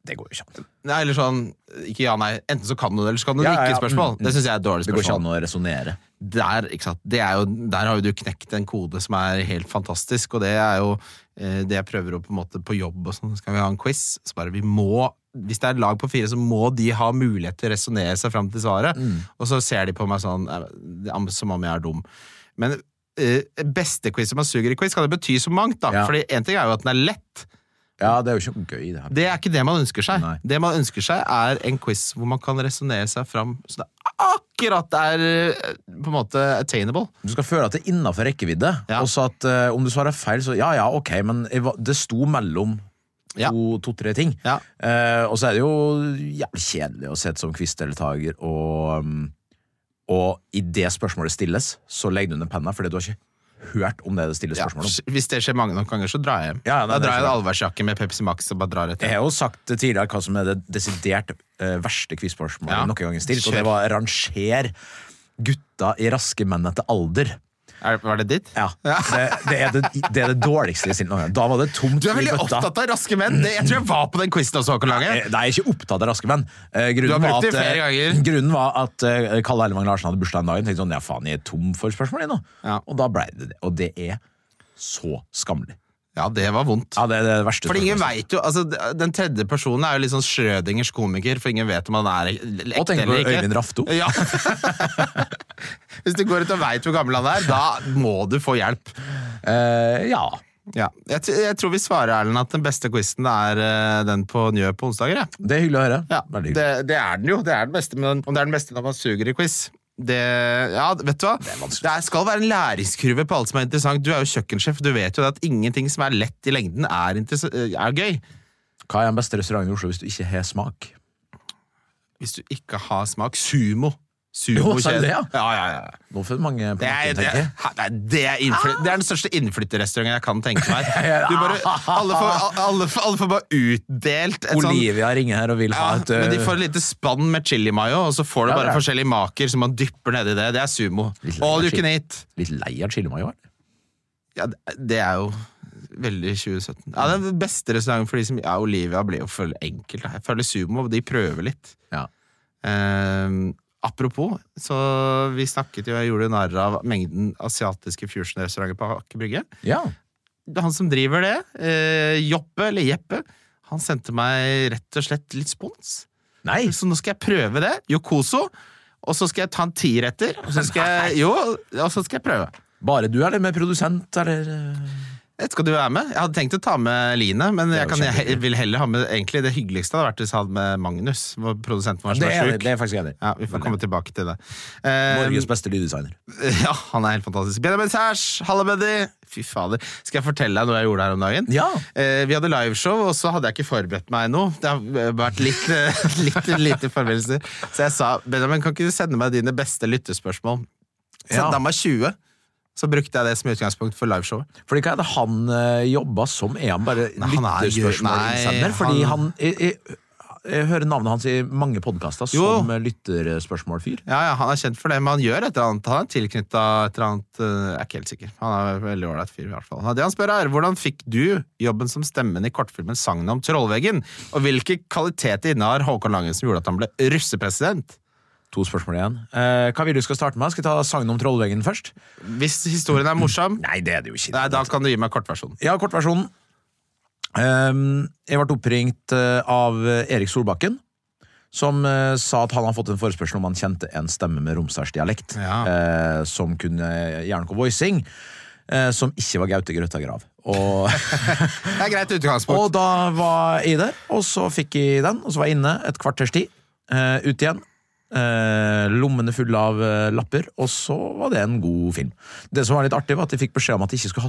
Det går jo ikke an.
Nei, eller sånn, ikke ja-nei. Enten så kan du det, eller så kan du
Ja, ja, ja.
ikke. spørsmål.
Mm, mm.
Det syns jeg er et dårlig
Det går ikke
spørsmål
an å resonnere.
der, ikke sant? Det er jo, der har jo du knekt en kode som er helt fantastisk, og det er jo eh, det jeg prøver å på en måte på jobb og sånn. Skal vi ha en quiz? Så bare vi må hvis det er et lag på fire, så må de ha mulighet til å resonnere seg fram til svaret.
Mm.
Og så ser de på meg sånn eh, som om jeg er dum. Men eh, beste quiz som man suger i quiz, kan det bety så mangt, da.
Ja.
Fordi én ting er jo at den er lett.
Ja, det er jo ikke gøy, det her.
Det er ikke det man ønsker seg.
Nei.
Det man ønsker seg, er en quiz hvor man kan resonnere seg fram så det akkurat er eh, på en måte attainable.
Du skal føle at det er innafor rekkevidde.
Ja.
Og så at eh, om du svarer feil, så ja ja, ok, men jeg var- det sto mellom
Ja.
to-tre ting.
Ja.
Eh, og så er det jo jævlig kjedelig å sitte som quizdeltaker og um, Og idet spørsmålet stilles, så legger du ned penna, fordi du har ikke hørt om det det stilles
Ja,
spørsmål om.
hvis det skjer mange nok ganger, så drar jeg hjem.
Ja, nei,
da
det
drar jeg i en
skjønner
allværsjakke med Pepsi Max og bare drar
Jeg
etter.
har jo sagt tidligere hva som er det desidert eh, verste quizspørsmålet
Ja.
noen gang stilt, og
Kjør.
det var ranger gutta i raske menn etter alder.
Er, var det ditt?
Ja, det, det, er det, det er det dårligste jeg har stilt noen gang. Da var det tomt
Du er
i
veldig
bøtta.
opptatt av raske menn! Det, jeg tror jeg var på den quizen også, Håkon Lange.
Eh, Nei, jeg er ikke opptatt av raske menn. Eh,
Du har
Grunnen,
brukt
var
det
at, eh,
flere ganger.
grunnen var at eh, Kalle Ellevang Larsen hadde bursdag den dagen. Tenkte sånn, ja faen, jeg er tom for spørsmål jeg nå.
Ja.
Og da ble det det. Og det er så skammelig.
Ja, det var vondt.
Ja, det er det verste
For ingen
spørsmålet.
vet jo, altså Den tredje personen er jo litt sånn Schrødingers komiker, for ingen vet om han er
Og
ekte
tenk på
eller ikke.
Øyvind Rafto.
Ja. Hvis du går ut og veit hvor gammel han er, da må du få hjelp.
Eh, ja.
Ja. Jeg, t- jeg tror vi svarer Erlend at den beste quizen er eh, den på Njø på onsdager. Jeg.
Det er hyggelig å høre.
Ja,
Veldig
det,
hyggelig.
det er den jo. Det er den beste, men om det er den beste når man suger i quiz det, ja, vet du hva? Det, er, skal være en læringskurve på alt som er interessant. Du er jo kjøkkensjef, du vet jo det at ingenting som er lett i lengden, er, interess- er gøy.
Hva er den beste restauranten i Oslo hvis du ikke har smak?
Hvis du ikke har smak. Sumo.
Jo, sa du det, ja?
Ja, ja, ja.
Nå får mange på
Det er,
nakken,
det,
tenker jeg.
nei, det, er innflyt,
Ah!
det er den største innflytterrestauranten jeg kan tenke meg. Du bare, alle, får, alle, får- alle får bare utdelt et sånn
Olivia ringer her og vil ha
Ja,
et
men de
eh,
får et lite spann med chili mayo, og så får du
Ja,
bare
ja.
forskjellige maker som man dypper nedi det. Det er sumo.
Litt lei
All
av
you
chili.
can eat.
Litt lei av chili mayo, eller?
Ja, det- det er jo veldig 2017. Ja, Den beste restauranten for de som Ja, Olivia blir jo for enkelt. da. Jeg føler sumo, de prøver litt.
Ja.
Ehm, apropos, så vi snakket jo, jeg gjorde narr av mengden asiatiske fusion-restauranter på Aker Brygge.
ja.
Det er Han som driver det, eh, Joppe, eller Jeppe, han sendte meg rett og slett litt spons.
Nei!
Så nå skal jeg prøve det. Yokoso. Og så skal jeg ta en tiretter. Og så skal jeg, jo, og så skal jeg prøve.
Bare du, eller med produsent, eller eh?
Eh, Skal du være med? Jeg hadde tenkt å ta med Line, men jeg,
jo
kan, jeg
kjempehyggelig.
vil heller ha med egentlig det hyggeligste hadde vært hvis jeg hadde med Magnus, vår produsenten vår som
det, er,
er
det
sjuk.
er faktisk enig.
Ja, vi får komme tilbake til det. Eh,
Norges beste lyddesigner.
ja, han er helt fantastisk. Benjamin Sæsj, halla, Benny! Fy fader. Skal jeg fortelle deg noe jeg gjorde her om dagen?
Ja.
Eh, vi hadde liveshow, og så hadde jeg ikke forberedt meg noe. Det har eh, vært litt, eh, litt lite forberedelser. Så jeg sa Benjamin, kan ikke du sende meg dine beste lyttespørsmål?
Ja.
Sendte han meg 20. Så brukte jeg det som utgangspunkt for liveshowet.
Fordi hva er det han eh, jobber som? Er han bare
Nei, han er jo- nei,
lyttespørsmålinnsender? Fordi han, jeg, jeg, jeg hører navnet hans i mange podkaster
Jo.
som eh, lytterspørsmålfyr.
Ja, ja, Han er kjent for det, men han gjør et eller annet. Han er tilknytta et eller annet eh, Jeg er ikke helt sikker. Han er en veldig ålreit fyr, i hvert fall. Det han spør, er hvordan fikk du jobben som stemmen i kortfilmen 'Sagnet om Trollveggen'? Og hvilke kvaliteter innehar Håkon Langen som gjorde at han ble russepresident?
To spørsmål igjen. Eh, hva vil du skal starte med? Skal jeg ta sangen om Trollveggen først?
Hvis historien er morsom,
Nei, det er det jo ikke.
nei, da kan du gi meg kortversjonen.
Ja, kortversjonen. Ehm, jeg ble oppringt eh, av Erik Solbakken, som eh, sa at han hadde fått en forespørsel om han kjente en stemme med romsdalsdialekt,
Ja.
eh, som kunne Jernkov voicing, eh, som ikke var Gaute Grøtta Grav. Og
Det er greit utgangspunkt.
Og da var jeg der, og så fikk jeg den, og så var jeg inne et kvarters tid. eh, ut igjen. eh, lommene fulle av eh, lapper, og så var det en god film. Det som var litt artig, var at jeg fikk beskjed om at jeg ikke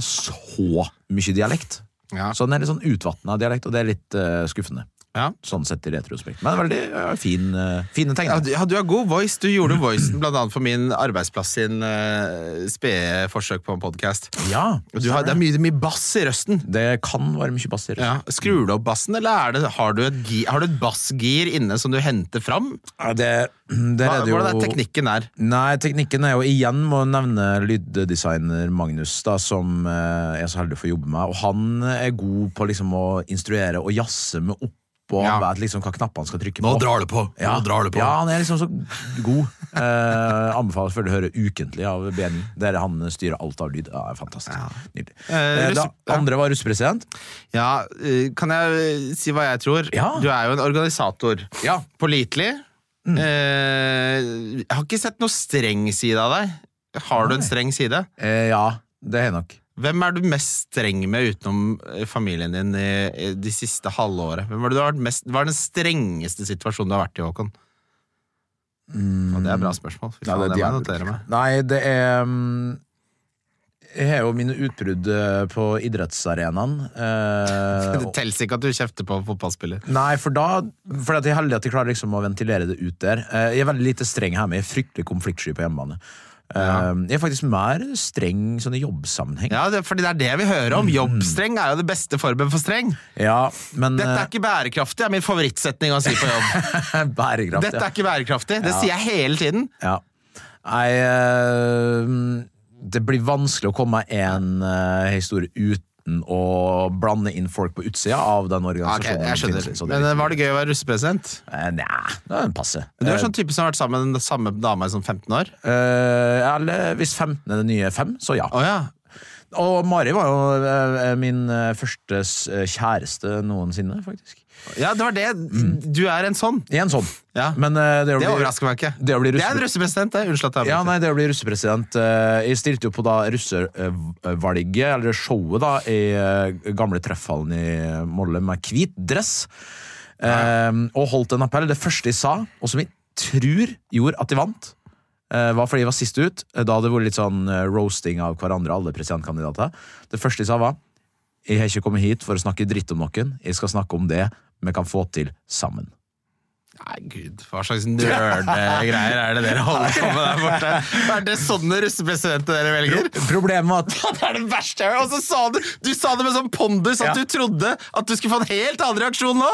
skulle ha så mye dialekt.
Ja.
Så den er litt sånn utvatna dialekt, og det er litt eh, skuffende.
Ja.
Sånn sett i retrospekt. Men veldig eh, fin, eh, fine
Ja,
tegninger.
du, ja, du har god voice. Du gjorde voicen blant annet for min arbeidsplass sin eh, spede forsøk på en podkast.
Ja,
Det er mye, mye bass i røsten.
det kan være mye bass i det.
Ja. Skrur du opp bassen, eller er det, har, du et gi- har du et bassgir inne som du henter fram?
Ja, det, der
Hva,
er det jo
hvordan er teknikken der?
Nei, teknikken er jo igjen må jeg nevne lyddesigner Magnus, da, som eh, jeg er så heldig å få jobbe med. Og han er god på liksom å instruere og jazze med opp, og han
Ja.
vet liksom hva knappene skal trykke på.
Nå drar det på!
ja.
Nå drar det på.
ja, han er liksom så god. Eh, anbefaler før du hører ukentlig av BNI, der han styrer alt av lyd. Ja, det er fantastisk. Nydelig.
Eh,
Eh,
russ-
da,
ja.
andre var russepresident.
Ja, eh, kan jeg eh, si hva jeg tror?
Ja.
Du er jo en organisator.
Ja.
Pålitelig.
Mm.
Eh, jeg har ikke sett noe streng side av deg. Har du en streng side?
Eh, ja, det er jeg nok.
Hvem er du mest streng med utenom eh, familien din i, i de siste halvåret? Hvem er det du har vært mest, hva er den strengeste situasjonen du har vært i, Håkon? Og Mm. det er et bra spørsmål. Fy faen,
Nei,
det,
de
må jeg
er-
notere meg.
Nei, det er mm, Jeg har jo mine utbrudd eh, på idrettsarenaen. eh,
Det teller ikke at du kjefter på en fotballspiller.
Nei, for da For at jeg er heldig at jeg klarer liksom å ventilere det ut der. Eh, Jeg er veldig lite streng hjemme. Jeg er fryktelig konfliktsky på hjemmebane. Eh, Jeg er faktisk mer streng sånn i jobbsammenheng. Ja,
Ja, det, fordi det er det vi hører
Mm.
om. Jobbstreng er jo det beste formen for streng.
men
Dette er
eh,
ikke bærekraftig, er min favorittsetning å si på jobb.
bærekraft,
Dette er ikke bærekraftig. Det sier jeg hele tiden.
ja. ja. Nei, eh, det blir vanskelig å komme med en eh, historie uten å blande inn folk på utsida av den
Ok,
organisasjonen.
jeg
de
skjønner.
finnes i, så det er
Men
litt-
eh, var det gøy å være russepresident?
Eh, Nja, det er en passe.
Du er sånn type som har vært sammen med den samme dama i sånn 15 år.
Eh, eller hvis 15 er det nye 5, så ja.
Å ja.
Og Mari var jo eh, min eh, første s- eh, kjæreste noensinne, faktisk.
Ja, det var det.
Mm.
Du er en sånn.
I en sånn.
Ja.
Men eh, det, å
Det
bli-
overrasker meg ikke.
Det å bli
er en
russe...
russepresident, det. Unnskyld at jeg
Ja,
avbryter.
nei, det å bli russepresident eh, Jeg stilte jo på da russevalget, eller showet, da, i eh, gamle Treffhallen i Molle med hvit dress. Eh, og holdt en appell. Det første jeg sa, og som jeg tror gjorde at de vant, eh, var fordi jeg var sist ut. Da hadde det vært litt sånn eh, roasting av hverandre, alle presidentkandidater. Det første jeg sa, var Jeg har ikke kommet hit for å snakke dritt om noen. Jeg skal snakke om det vi kan få til sammen.
Nei, gud, hva slags nerdegreier er det dere holder på med der borte? Er det sånne russepresidenter dere velger?
Problemet var at
Det er det verste jeg har hørt! Og så sa du, du sa det med sånn pondus
Ja.
at du trodde at du skulle få en helt annen reaksjon nå!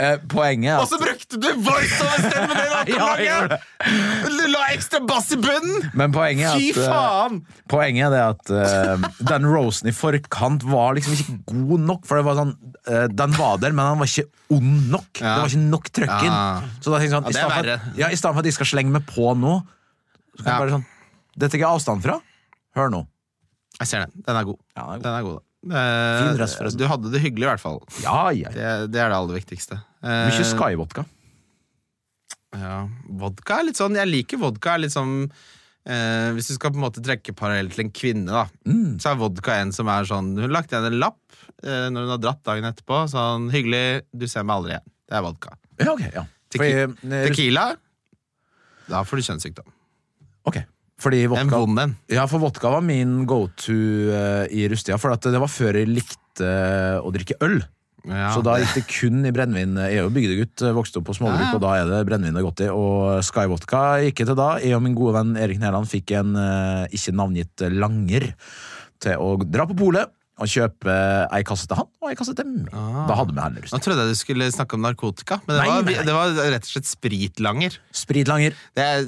eh, poenget er
Og
at
så brukte du voiceover-stemmen din!
Ja, jeg gjorde
Håkon Lange! Du la ekstra bass i bunnen!
Men poenget er at
Fy
eh,
faen!
Poenget er det at eh, den rosen i forkant var liksom ikke god nok. For det var sånn, eh, Den var der, men den var ikke ond nok.
Ja.
Det var ikke nok trøkk inn.
Ja.
Så da tenkte jeg sånn, i
Ja, det er
stedet for at-
verre.
ja, I stedet for at de skal slenge meg på nå, så kan
Ja.
jeg bare sånn Dette tar jeg avstand fra. Hør nå.
Jeg ser den. Den er god.
Ja, den er god.
Den er god, da. Eh,
Fin dress, forresten.
du hadde det hyggelig, i hvert fall.
Ja, ja.
Det, det er det aller viktigste. Eh,
Mye Sky-vodka.
Ja, vodka er litt sånn Jeg liker vodka er litt sånn eh, Hvis du skal på en måte trekke parallell til en kvinne da
Mm.
Så er vodka en som er sånn Hun lagt igjen en lapp eh, Når hun har dratt dagen etterpå Sånn, hyggelig, du ser meg aldri igjen Det er vodka
Ja, ok. ja. Fordi,
Tequila,
eh,
tequila Da får du kjønnssykdom
ok. Fordi
En
vodka
vond en
Ja, for vodka var min go-to eh, i rustida. For at det var før jeg likte eh, å drikke øl.
ja.
Så da gikk det kun i brennevin. Jeg er jo bygdegutt, eh, vokste opp på småbruk,
Ja, ja.
og da er det brennevin det er godt i. Og Sky Vodka gikk jeg til da. Jeg og min gode venn Erik Nærland fikk en eh, ikke navngitt langer til å dra på polet og kjøpe ei kasse til han og ei kasse til meg. Da hadde vi heller
Ah. Nå
rust.
trodde jeg du skulle snakke om narkotika Men det,
Nei,
var,
nei, nei.
det var rett og slett spritlanger
Spritlanger.
det er,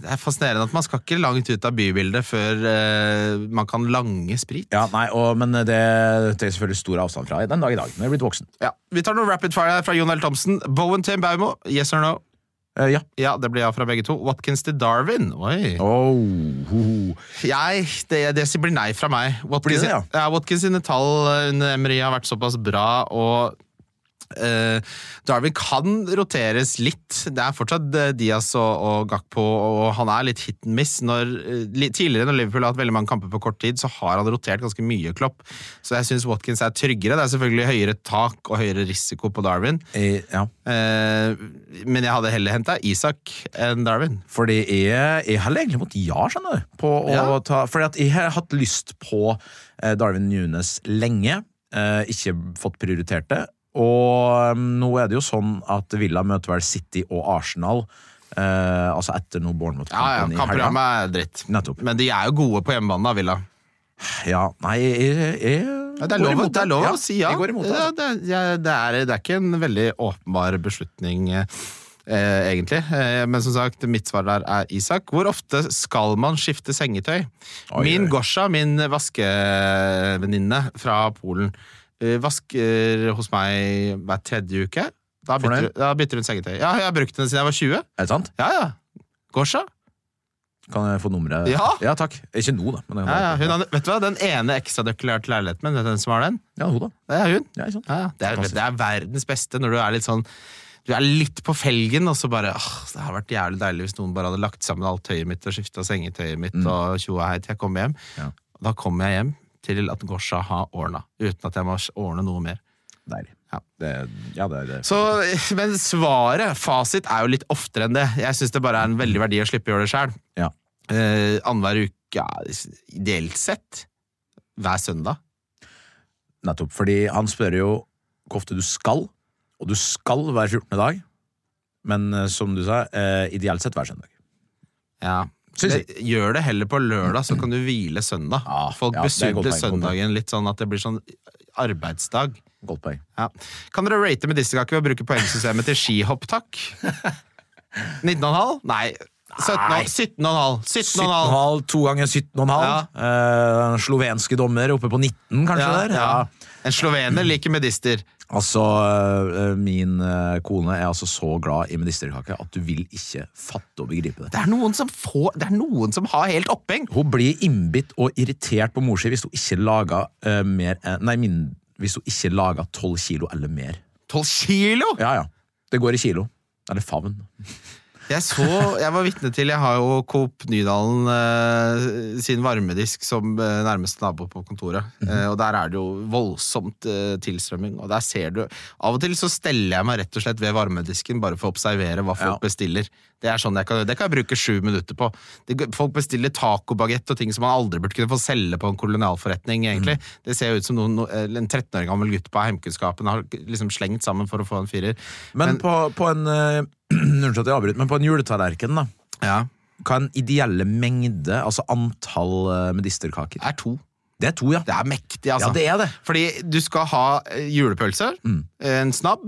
det er fascinerende at man skal ikke langt ut av bybildet Før eh, man kan lange sprit
Ja, nei, og, men det tar jeg selvfølgelig stor avstand fra den dag i dag. Når jeg er blitt voksen.
Ja. Vi tar noe rapid fire her fra Jon L. Thomsen. Bowen til Baumo, yes or no?
Eh, ja.
Ja, det blir ja fra begge to. Watkins til Darwin. Oi.
Oh, ho, ho.
Jeg, det, det blir nei fra meg.
Blir
Watkins,
det,
ja.
ja?
Watkins sine tall eh, under Emery har vært såpass bra, og eh, Darwin kan roteres litt. Det er fortsatt eh, Diaz og, og Gakpo, og han er litt hit and miss. Når, eh, li- tidligere når Liverpool har hatt veldig mange kamper på kort tid, så har han rotert ganske mye klopp. Så jeg syns Watkins er tryggere. Det er selvfølgelig høyere tak og høyere risiko på Darwin.
Eh, ja.
Eh, men jeg hadde heller henta Isak enn Darwin.
Fordi jeg, jeg heller egentlig mot ja, skjønner du. På å
Ja.
ta, fordi at jeg har hatt lyst på eh, Darwin Nunes lenge. Eh, ikke fått prioritert det. Og um, nå er det jo sånn at Villa møter vel City og Arsenal. eh, altså etter noe
Ja, ja,
Bournemouth-kampen i helga.
Kampprogrammet er dritt.
Nettopp.
Men de er jo gode på hjemmebane, da, Villa.
Ja, nei, jeg, jeg, jeg
Ja, det, er
går
lov,
imot
det er lov å
Ja,
si ja.
Jeg går imot det.
ja,
Altså.
det, er- ja, det, er, det er ikke en veldig åpenbar beslutning, eh, eh, egentlig. Eh, men som sagt, mitt svar der er Isak. Hvor ofte skal man skifte sengetøy?
Oi,
min
oi.
Gosha, min vaskevenninne fra Polen, eh, vasker hos meg hver tredje uke. Da
Fornøyd?
bytter, hun- da bytter hun sengetøy. Ja, jeg har brukt den siden jeg var 20.
Er det sant?
Ja, ja. Gosha?
Kan jeg få nummeret?
Ja.
takk. Ikke nå, da. Men jeg
Ja,
kan-
ja. Hun, har- vet du hva, den ene ekstranøkkelen jeg har til leiligheten min, vet du hvem som har den?
ja, hun, da.
Det er hun.
Ja, ikke sant?
Ja, ja. det, er,
Fantastisk.
det er verdens beste når du er litt sånn Du er litt på felgen, og så bare åh, Det hadde vært jævlig deilig hvis noen bare hadde lagt sammen alt tøyet mitt og skifta sengetøyet mitt og tjo og hei til jeg kommer hjem.
Ja.
Og da kommer jeg hjem til at Gosha har ordna, uten at jeg må ordne noe mer.
Deilig.
Ja.
Det, ja, det er det.
Så, men svaret, fasit, er jo litt oftere enn det. Jeg syns det bare er en veldig verdi å slippe å gjøre det sjøl.
Ja.
Eh, Annenhver uke, ja, ideelt sett. Hver søndag.
Nettopp. Fordi han spør jo hvor ofte du skal, og du skal hver 14. dag. Men eh, som du sa, eh, ideelt sett hver søndag.
Ja.
Syns
Det, gjør det heller på lørdag, så kan du hvile søndag.
Ja,
Folk
ja, det er et godt poeng,
besudler
godt poeng.
søndagen litt sånn at det blir sånn arbeidsdag.
Godt poeng.
Ja. Kan dere rate medisterkake ved å bruke poengsystemet til skihopp, takk? 19,5? Nei. 17,5. 17,5. 17,5.
17,5, to ganger 17,5. Eh, slovenske dommer oppe på 19, kanskje?
Ja,
der?
ja. En slovener liker medister.
Altså, eh, min eh, kone er altså så glad i medisterkake at du vil ikke fatte og begripe det.
Det er noen som, får, det er noen som har helt oppheng!
Hun blir innbitt og irritert på mor si hvis hun ikke lager eh, mer enn- Nei, min, hvis hun ikke lager 12 kilo eller mer.
12 kilo!
Ja, ja. Det går i kilo. Eller favn.
Jeg så, jeg var vitne til Jeg har jo Coop Nydalen eh, sin varmedisk som eh, nærmeste nabo på kontoret.
Mhm.
Eh, og der er det jo voldsomt eh, tilstrømming. Og der ser du Av og til så steller jeg meg rett og slett ved varmedisken bare for å observere hva folk
Ja.
bestiller. Det er sånn jeg kan, det kan jeg bruke sju minutter på. Det, folk bestiller tacobagett og ting som man aldri burde kunne få selge på en kolonialforretning,
Mhm.
egentlig. Det ser jo ut som noen, no- eller en 13 år gammel gutt på heimkunnskapen har liksom slengt sammen for å få en firer.
Men, på, på en eh, Unnskyld at jeg avbryter, men på en juletallerken, da.
Ja,
Hva er den ideelle mengde, altså antall eh, medisterkaker?
det er to.
Det er to, ja.
Det er mektig, altså.
Ja, det er det.
Fordi du skal ha eh, julepølse, en snabb,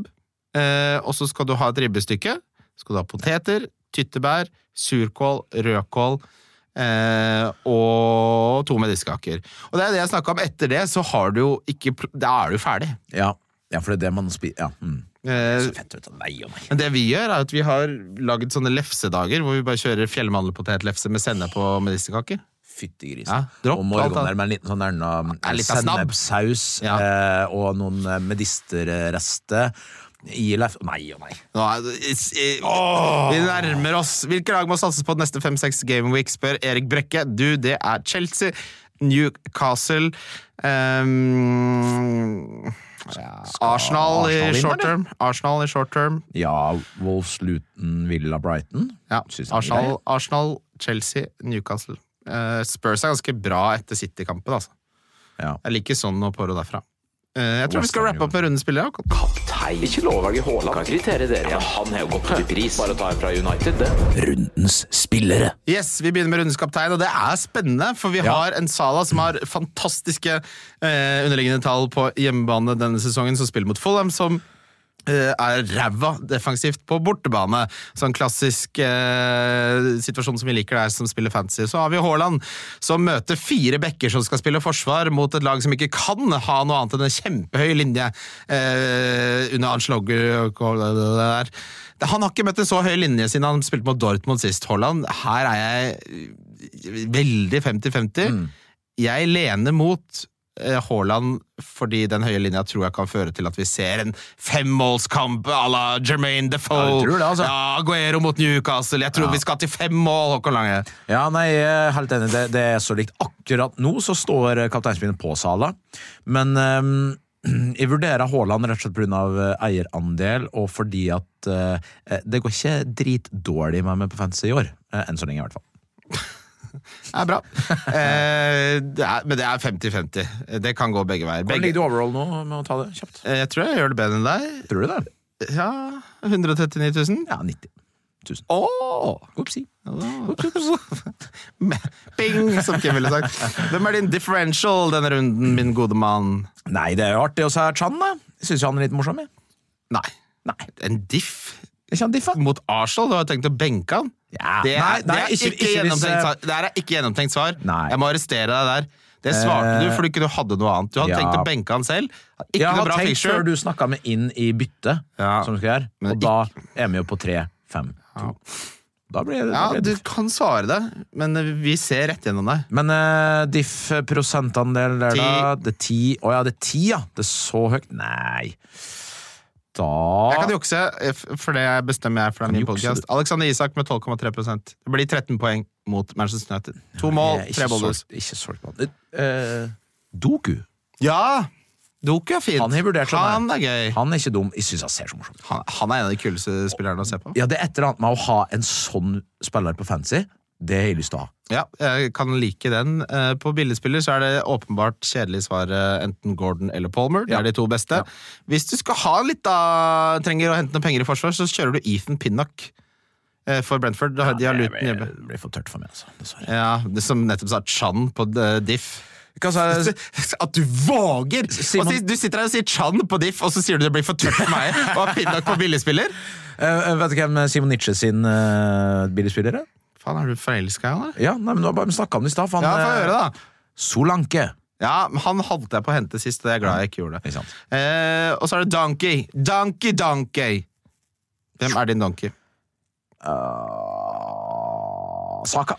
eh, og så skal du ha et ribbestykke. Så skal du ha poteter, tyttebær, surkål, rødkål eh, og to medisterkaker. Og det er det jeg snakka om. Etter det så har du jo ikke pl- Da er du ferdig.
Ja, ja for det er det man spiser. Ja. Mm.
Eh,
Så fett ut. Nei og nei.
men det vi gjør, er at vi har lagd sånne lefsedager hvor vi bare kjører fjellmandelpotetlefse med sennep og medisterkaker.
Fytti grisen.
Ja, dropp
og
alt da.
morgendær med en liten sånn der, nå,
Ja, litt av snabb.
sennepsaus
Ja.
eh, og noen eh, medisterrester i lef... Nei og nei.
Nå er det- is- i- Vi nærmer oss. Hvilke lag må satses på de neste fem-seks Game Week, spør Erik Brekke. Du, det er Chelsea, Newcastle ehm, ja,
Arsenal
Arsenal, i
vinne,
short term. Arsenal i short term.
Ja, Wolves, Luton, Villa, Brighton.
Ja.
Synes jeg er grei.
Arsenal, Arsenal, Chelsea, Newcastle. Eh, Spurs er ganske bra etter City-kampen, altså.
Ja.
Jeg liker sånn og Poro derfra. Eh, jeg tror vi
West
skal
Ham,
rappe opp med rundens spillere. ja.
Kaptein. Ikke lov å velge Haaland. Kan kritere dere. Ja, men han har jo gått opp i pris. Bare å ta en fra United, det.
Rundens spillere.
Yes, Vi begynner med rundens kaptein, og det er spennende. For vi
Ja.
har en Sala som har fantastiske eh, underliggende tall på hjemmebane denne sesongen, som spiller mot Fulham, som eh, er ræva defensivt på bortebane. Sånn klassisk eh, situasjon som vi liker der, som spiller fantasy. Så har vi Haaland, som møter fire bekker som skal spille forsvar mot et lag som ikke kan ha noe annet enn en kjempehøy linje eh, under Anslogger der. Han har ikke møtt en så høy linje siden han spilte mot Dortmund sist, Haaland. Her er jeg veldig 50-50.
Mm.
Jeg lener mot eh, Haaland fordi den høye linja tror jeg kan føre til at vi ser en femmålskamp à la Jermaine Defoe.
Ja, du tror det, altså.
Ja, Aguero mot Newcastle. Jeg tror vi skal til fem mål, Håkon Lange.
Ja, nei, jeg er helt enig. Det, det er så likt. Akkurat nå så står eh, kapteinspinnet på Sala, men ehm, jeg vurderer Haaland rett og slett pga. eh, eierandel, og fordi at eh, det går ikke dritdårlig med meg på fantasy i år. Eh, Enn så lenge, i hvert fall.
Det er bra. Eh, det er, men det er 50-50. Det kan gå begge veier.
Hvordan ligger
Begge.
du overall nå med å ta det kjapt?
Eh, Jeg tror jeg gjør det bedre enn deg.
Tror du det?
Ja, 139 000.
Ja, 90 000.
Åh!
Oopsie.
Bing, som Kim ville sagt. Hvem er din differential denne runden, min gode mann?
Nei, det er jo artig å se Chan, da. Jeg syns han er litt morsom. jeg.
Nei.
Nei.
En diff
Er ikke han diff, da?
mot Arsenal? Du har jo tenkt å benke han.
Ja.
Det er,
Nei,
det
nei,
er ikke,
ikke- ikke hvis,
gjennomtenkt
eh,
svar. Det her er ikke gjennomtenkt svar.
Nei.
Jeg må arrestere deg der. Det svarte du
Eh,
fordi ikke du hadde noe annet. Du hadde
ja.
tenkt å benke han selv. Ikke
Jeg
noe
har
bra
tenkt
picture.
før du snakka med inn i byttet,
Ja.
som du skal gjøre,
Men
og da er vi jo på 3-5-2. Da blir det,
Ja,
da blir
du
det.
kan svare det, men vi ser rett gjennom deg.
Men eh, diff prosentandel der, da? Det er 10. Å ja, det er 10, ja. Det er så høyt. Nei. Da
Jeg kan jukse, eh, f- for det bestemmer jeg for det er min
jukse,
podcast. Alexander Isak med 12,3 Det blir 13 poeng mot Manchester United. To mål,
Jeg er
tre
ikke
bolder.
solgt- Ikke solgt på han. Eh, Doku.
Ja! Doku er fint.
Han har vurdert han
Han er gøy.
Han er ikke dum. Jeg syns han ser så morsom ut.
Han, han er en av de kuleste spillerne å se på.
Ja, det er et eller annet med å ha en sånn spiller på fancy. Det har jeg lyst til å ha.
Ja, jeg kan like den. Eh, På billedspiller så er det åpenbart kjedelig svar eh, enten Gordon eller Palmer. Det
Ja.
er de to beste. Hvis du skal ha litt da, trenger å hente noen penger i forsvar, så kjører du Ethan Pinnock eh, for Brentford. Da, de har
det
Luton hjemme.
blir, det blir for tørt for meg, altså. Dessverre.
Ja, det som nettopp sa Chan på eh, Diff.
Hva sa jeg?
At du våger!
Simon-
Og si, du sitter her og sier Chan på Diff, og så sier du det blir for tørt for meg å ha Pinnock på billigspiller?
Eh, eh, vet du hvem Simon Nietzsche sin uh, billigspiller er?
Faen, er du forelska i han, eller?
Ja, nei, men du har bare snakka om det i stad. for han,
Ja, få
eh,
høre, da.
Solanke.
Ja, men han holdt jeg på å hente sist, og jeg er glad jeg ikke gjorde det.
Ikke sant.
Eh, og så er det Donkey. Donkey, Donkey! Hvem er din donkey?
Eh, Saka.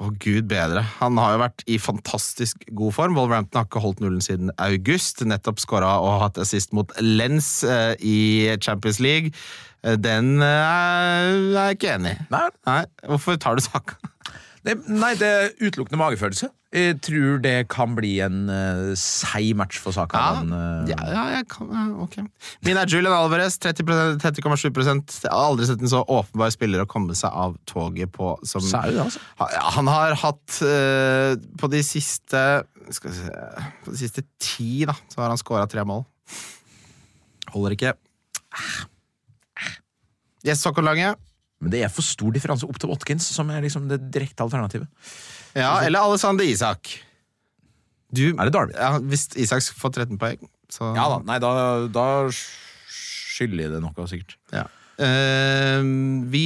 Å, gud bedre. Han har jo vært i fantastisk god form. Wolverhampton har ikke holdt nullen siden august. Nettopp skåra og hatt assist mot Lens eh, i Champions League. Eh, Den eh, er jeg ikke enig i.
Nei,
Nei, hvorfor tar du saka?
det, nei, det er utelukkende magefølelse. Jeg tror det kan bli en eh, seig match for Saka.
Ja,
men, eh,
ja, ja, jeg kan ja, Ok. Min er Julian Alvarez. 30%, 30,7 Jeg har aldri sett en så åpenbar spiller å komme seg av toget på som
Så er det det, altså.
Ha- ja, Han har hatt eh, På de siste Skal vi se På de siste ti, da, så har han scora tre mål. Holder ikke. Yes, Håkon Lange.
Men det er for stor differanse opp til Watkins, som er liksom det direkte alternativet.
Ja, eller Alexander Isak. Du,
Er det Darwin?
ja, hvis Isak får 13 poeng, så
Ja da, nei, da, da skylder jeg det noe, sikkert.
Ja. Eh, vi,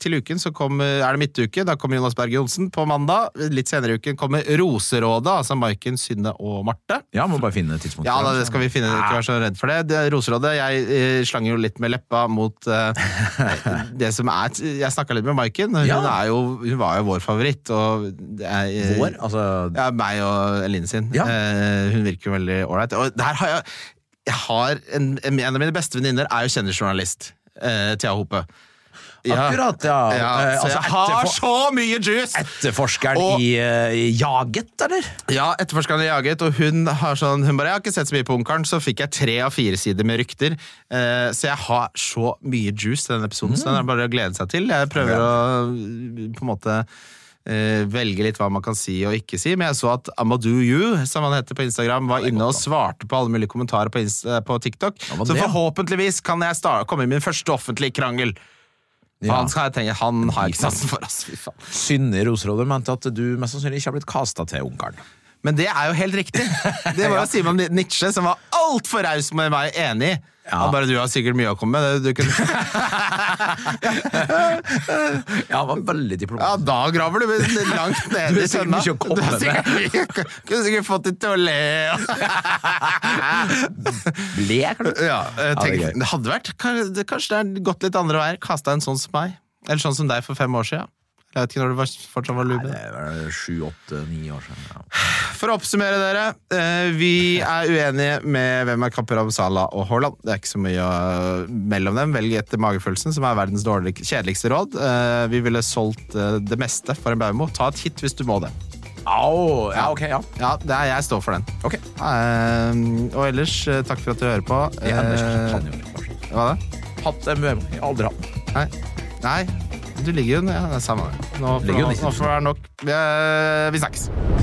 til uken så kommer, er det midtuke. Da kommer Jonas Berg Johnsen på mandag. Litt senere i uken kommer Roserådet, altså Maiken, Synne og Marte.
Ja, må bare finne tidspunktet.
Ja, da, det skal vi finne. Ikke vær så redd for det. det er Roserådet, jeg eh, slanger jo litt med leppa mot eh, det som er Jeg snakka litt med Maiken. Hun,
Ja.
er jo, hun var jo vår favoritt. Og det er, eh,
Vår, altså
ja, meg og Eline sin.
Ja.
Eh, hun virker jo veldig ålreit. Og der har jeg, jeg har en, en av mine beste venninner er jo kjendisjournalist. Eh, Thea Hope. Ja.
Akkurat, ja.
Ja,
Eh,
så
altså,
jeg har
etterfor-
så mye juice!
Etterforskeren
Og-
i, eh, i Jaget, eller?
Ja, Etterforskeren er jaget, og hun har sånn Hun bare 'Jeg har ikke sett så mye på Ungkaren', så fikk jeg tre av fire sider med rykter. Eh, så jeg har så mye juice til denne episoden, så den er bare å glede seg til. Jeg prøver å på en måte eh, velge litt hva man kan si og ikke si, men jeg så at Amadou You, som han heter på Instagram, var inne og svarte på alle mulige kommentarer på, Insta, på TikTok.
Ja, men
så
det-
forhåpentligvis kan jeg starte, komme i min første offentlige krangel. For
Ja.
Han, skal jeg tenke, han har jeg ikke sansen for, ass. Fy faen.
Synne i Roserådet mente at du mest sannsynlig ikke har blitt kasta til Ungkaren.
Men det er jo helt riktig. Det var jo Simon Nietzsche som var altfor raus med meg enig i. Han bare 'du har sikkert mye å komme med'. Du kunne...
Ja, han var veldig
Ja,
diplomatisk.
da graver du langt ned
Du
i
har sikkert
sønna.
mye å komme
har sikkert mye- Kunne sikkert fått det til å le.
Blek, du.
Ja, jeg
det er
tenker-
gøy.
det hadde vært kanskje, kanskje det er gått litt andre veier. Kasta en sånn som meg. Eller sånn som deg for fem år siden. Jeg vet ikke når du var, fortsatt var lube.
Det er vel sju, åtte, ni år siden. Ja.
For å oppsummere dere, eh, vi er uenige med hvem er kapper av Salah og Haaland. Det er ikke så mye eh, mellom dem. Velg etter magefølelsen, som er verdens dårlig, kjedeligste råd. Eh, vi ville solgt eh, det meste for en Baumo. Ta et hit hvis du må det.
Au! Ja, ok, ja.
Ja, det er, jeg står for den.
Ok.
Eh, og ellers, eh, takk for at du hører på.
Det er Anders
Eh,
Sandjord.
hva da?
Hatt en VM. Aldri hatt den.
Nei. Nei, du ligger jo nede. Ja, det er samme det. Nå, får-
Ligger jo
nå får det være nok. Eh, Vi snakkes.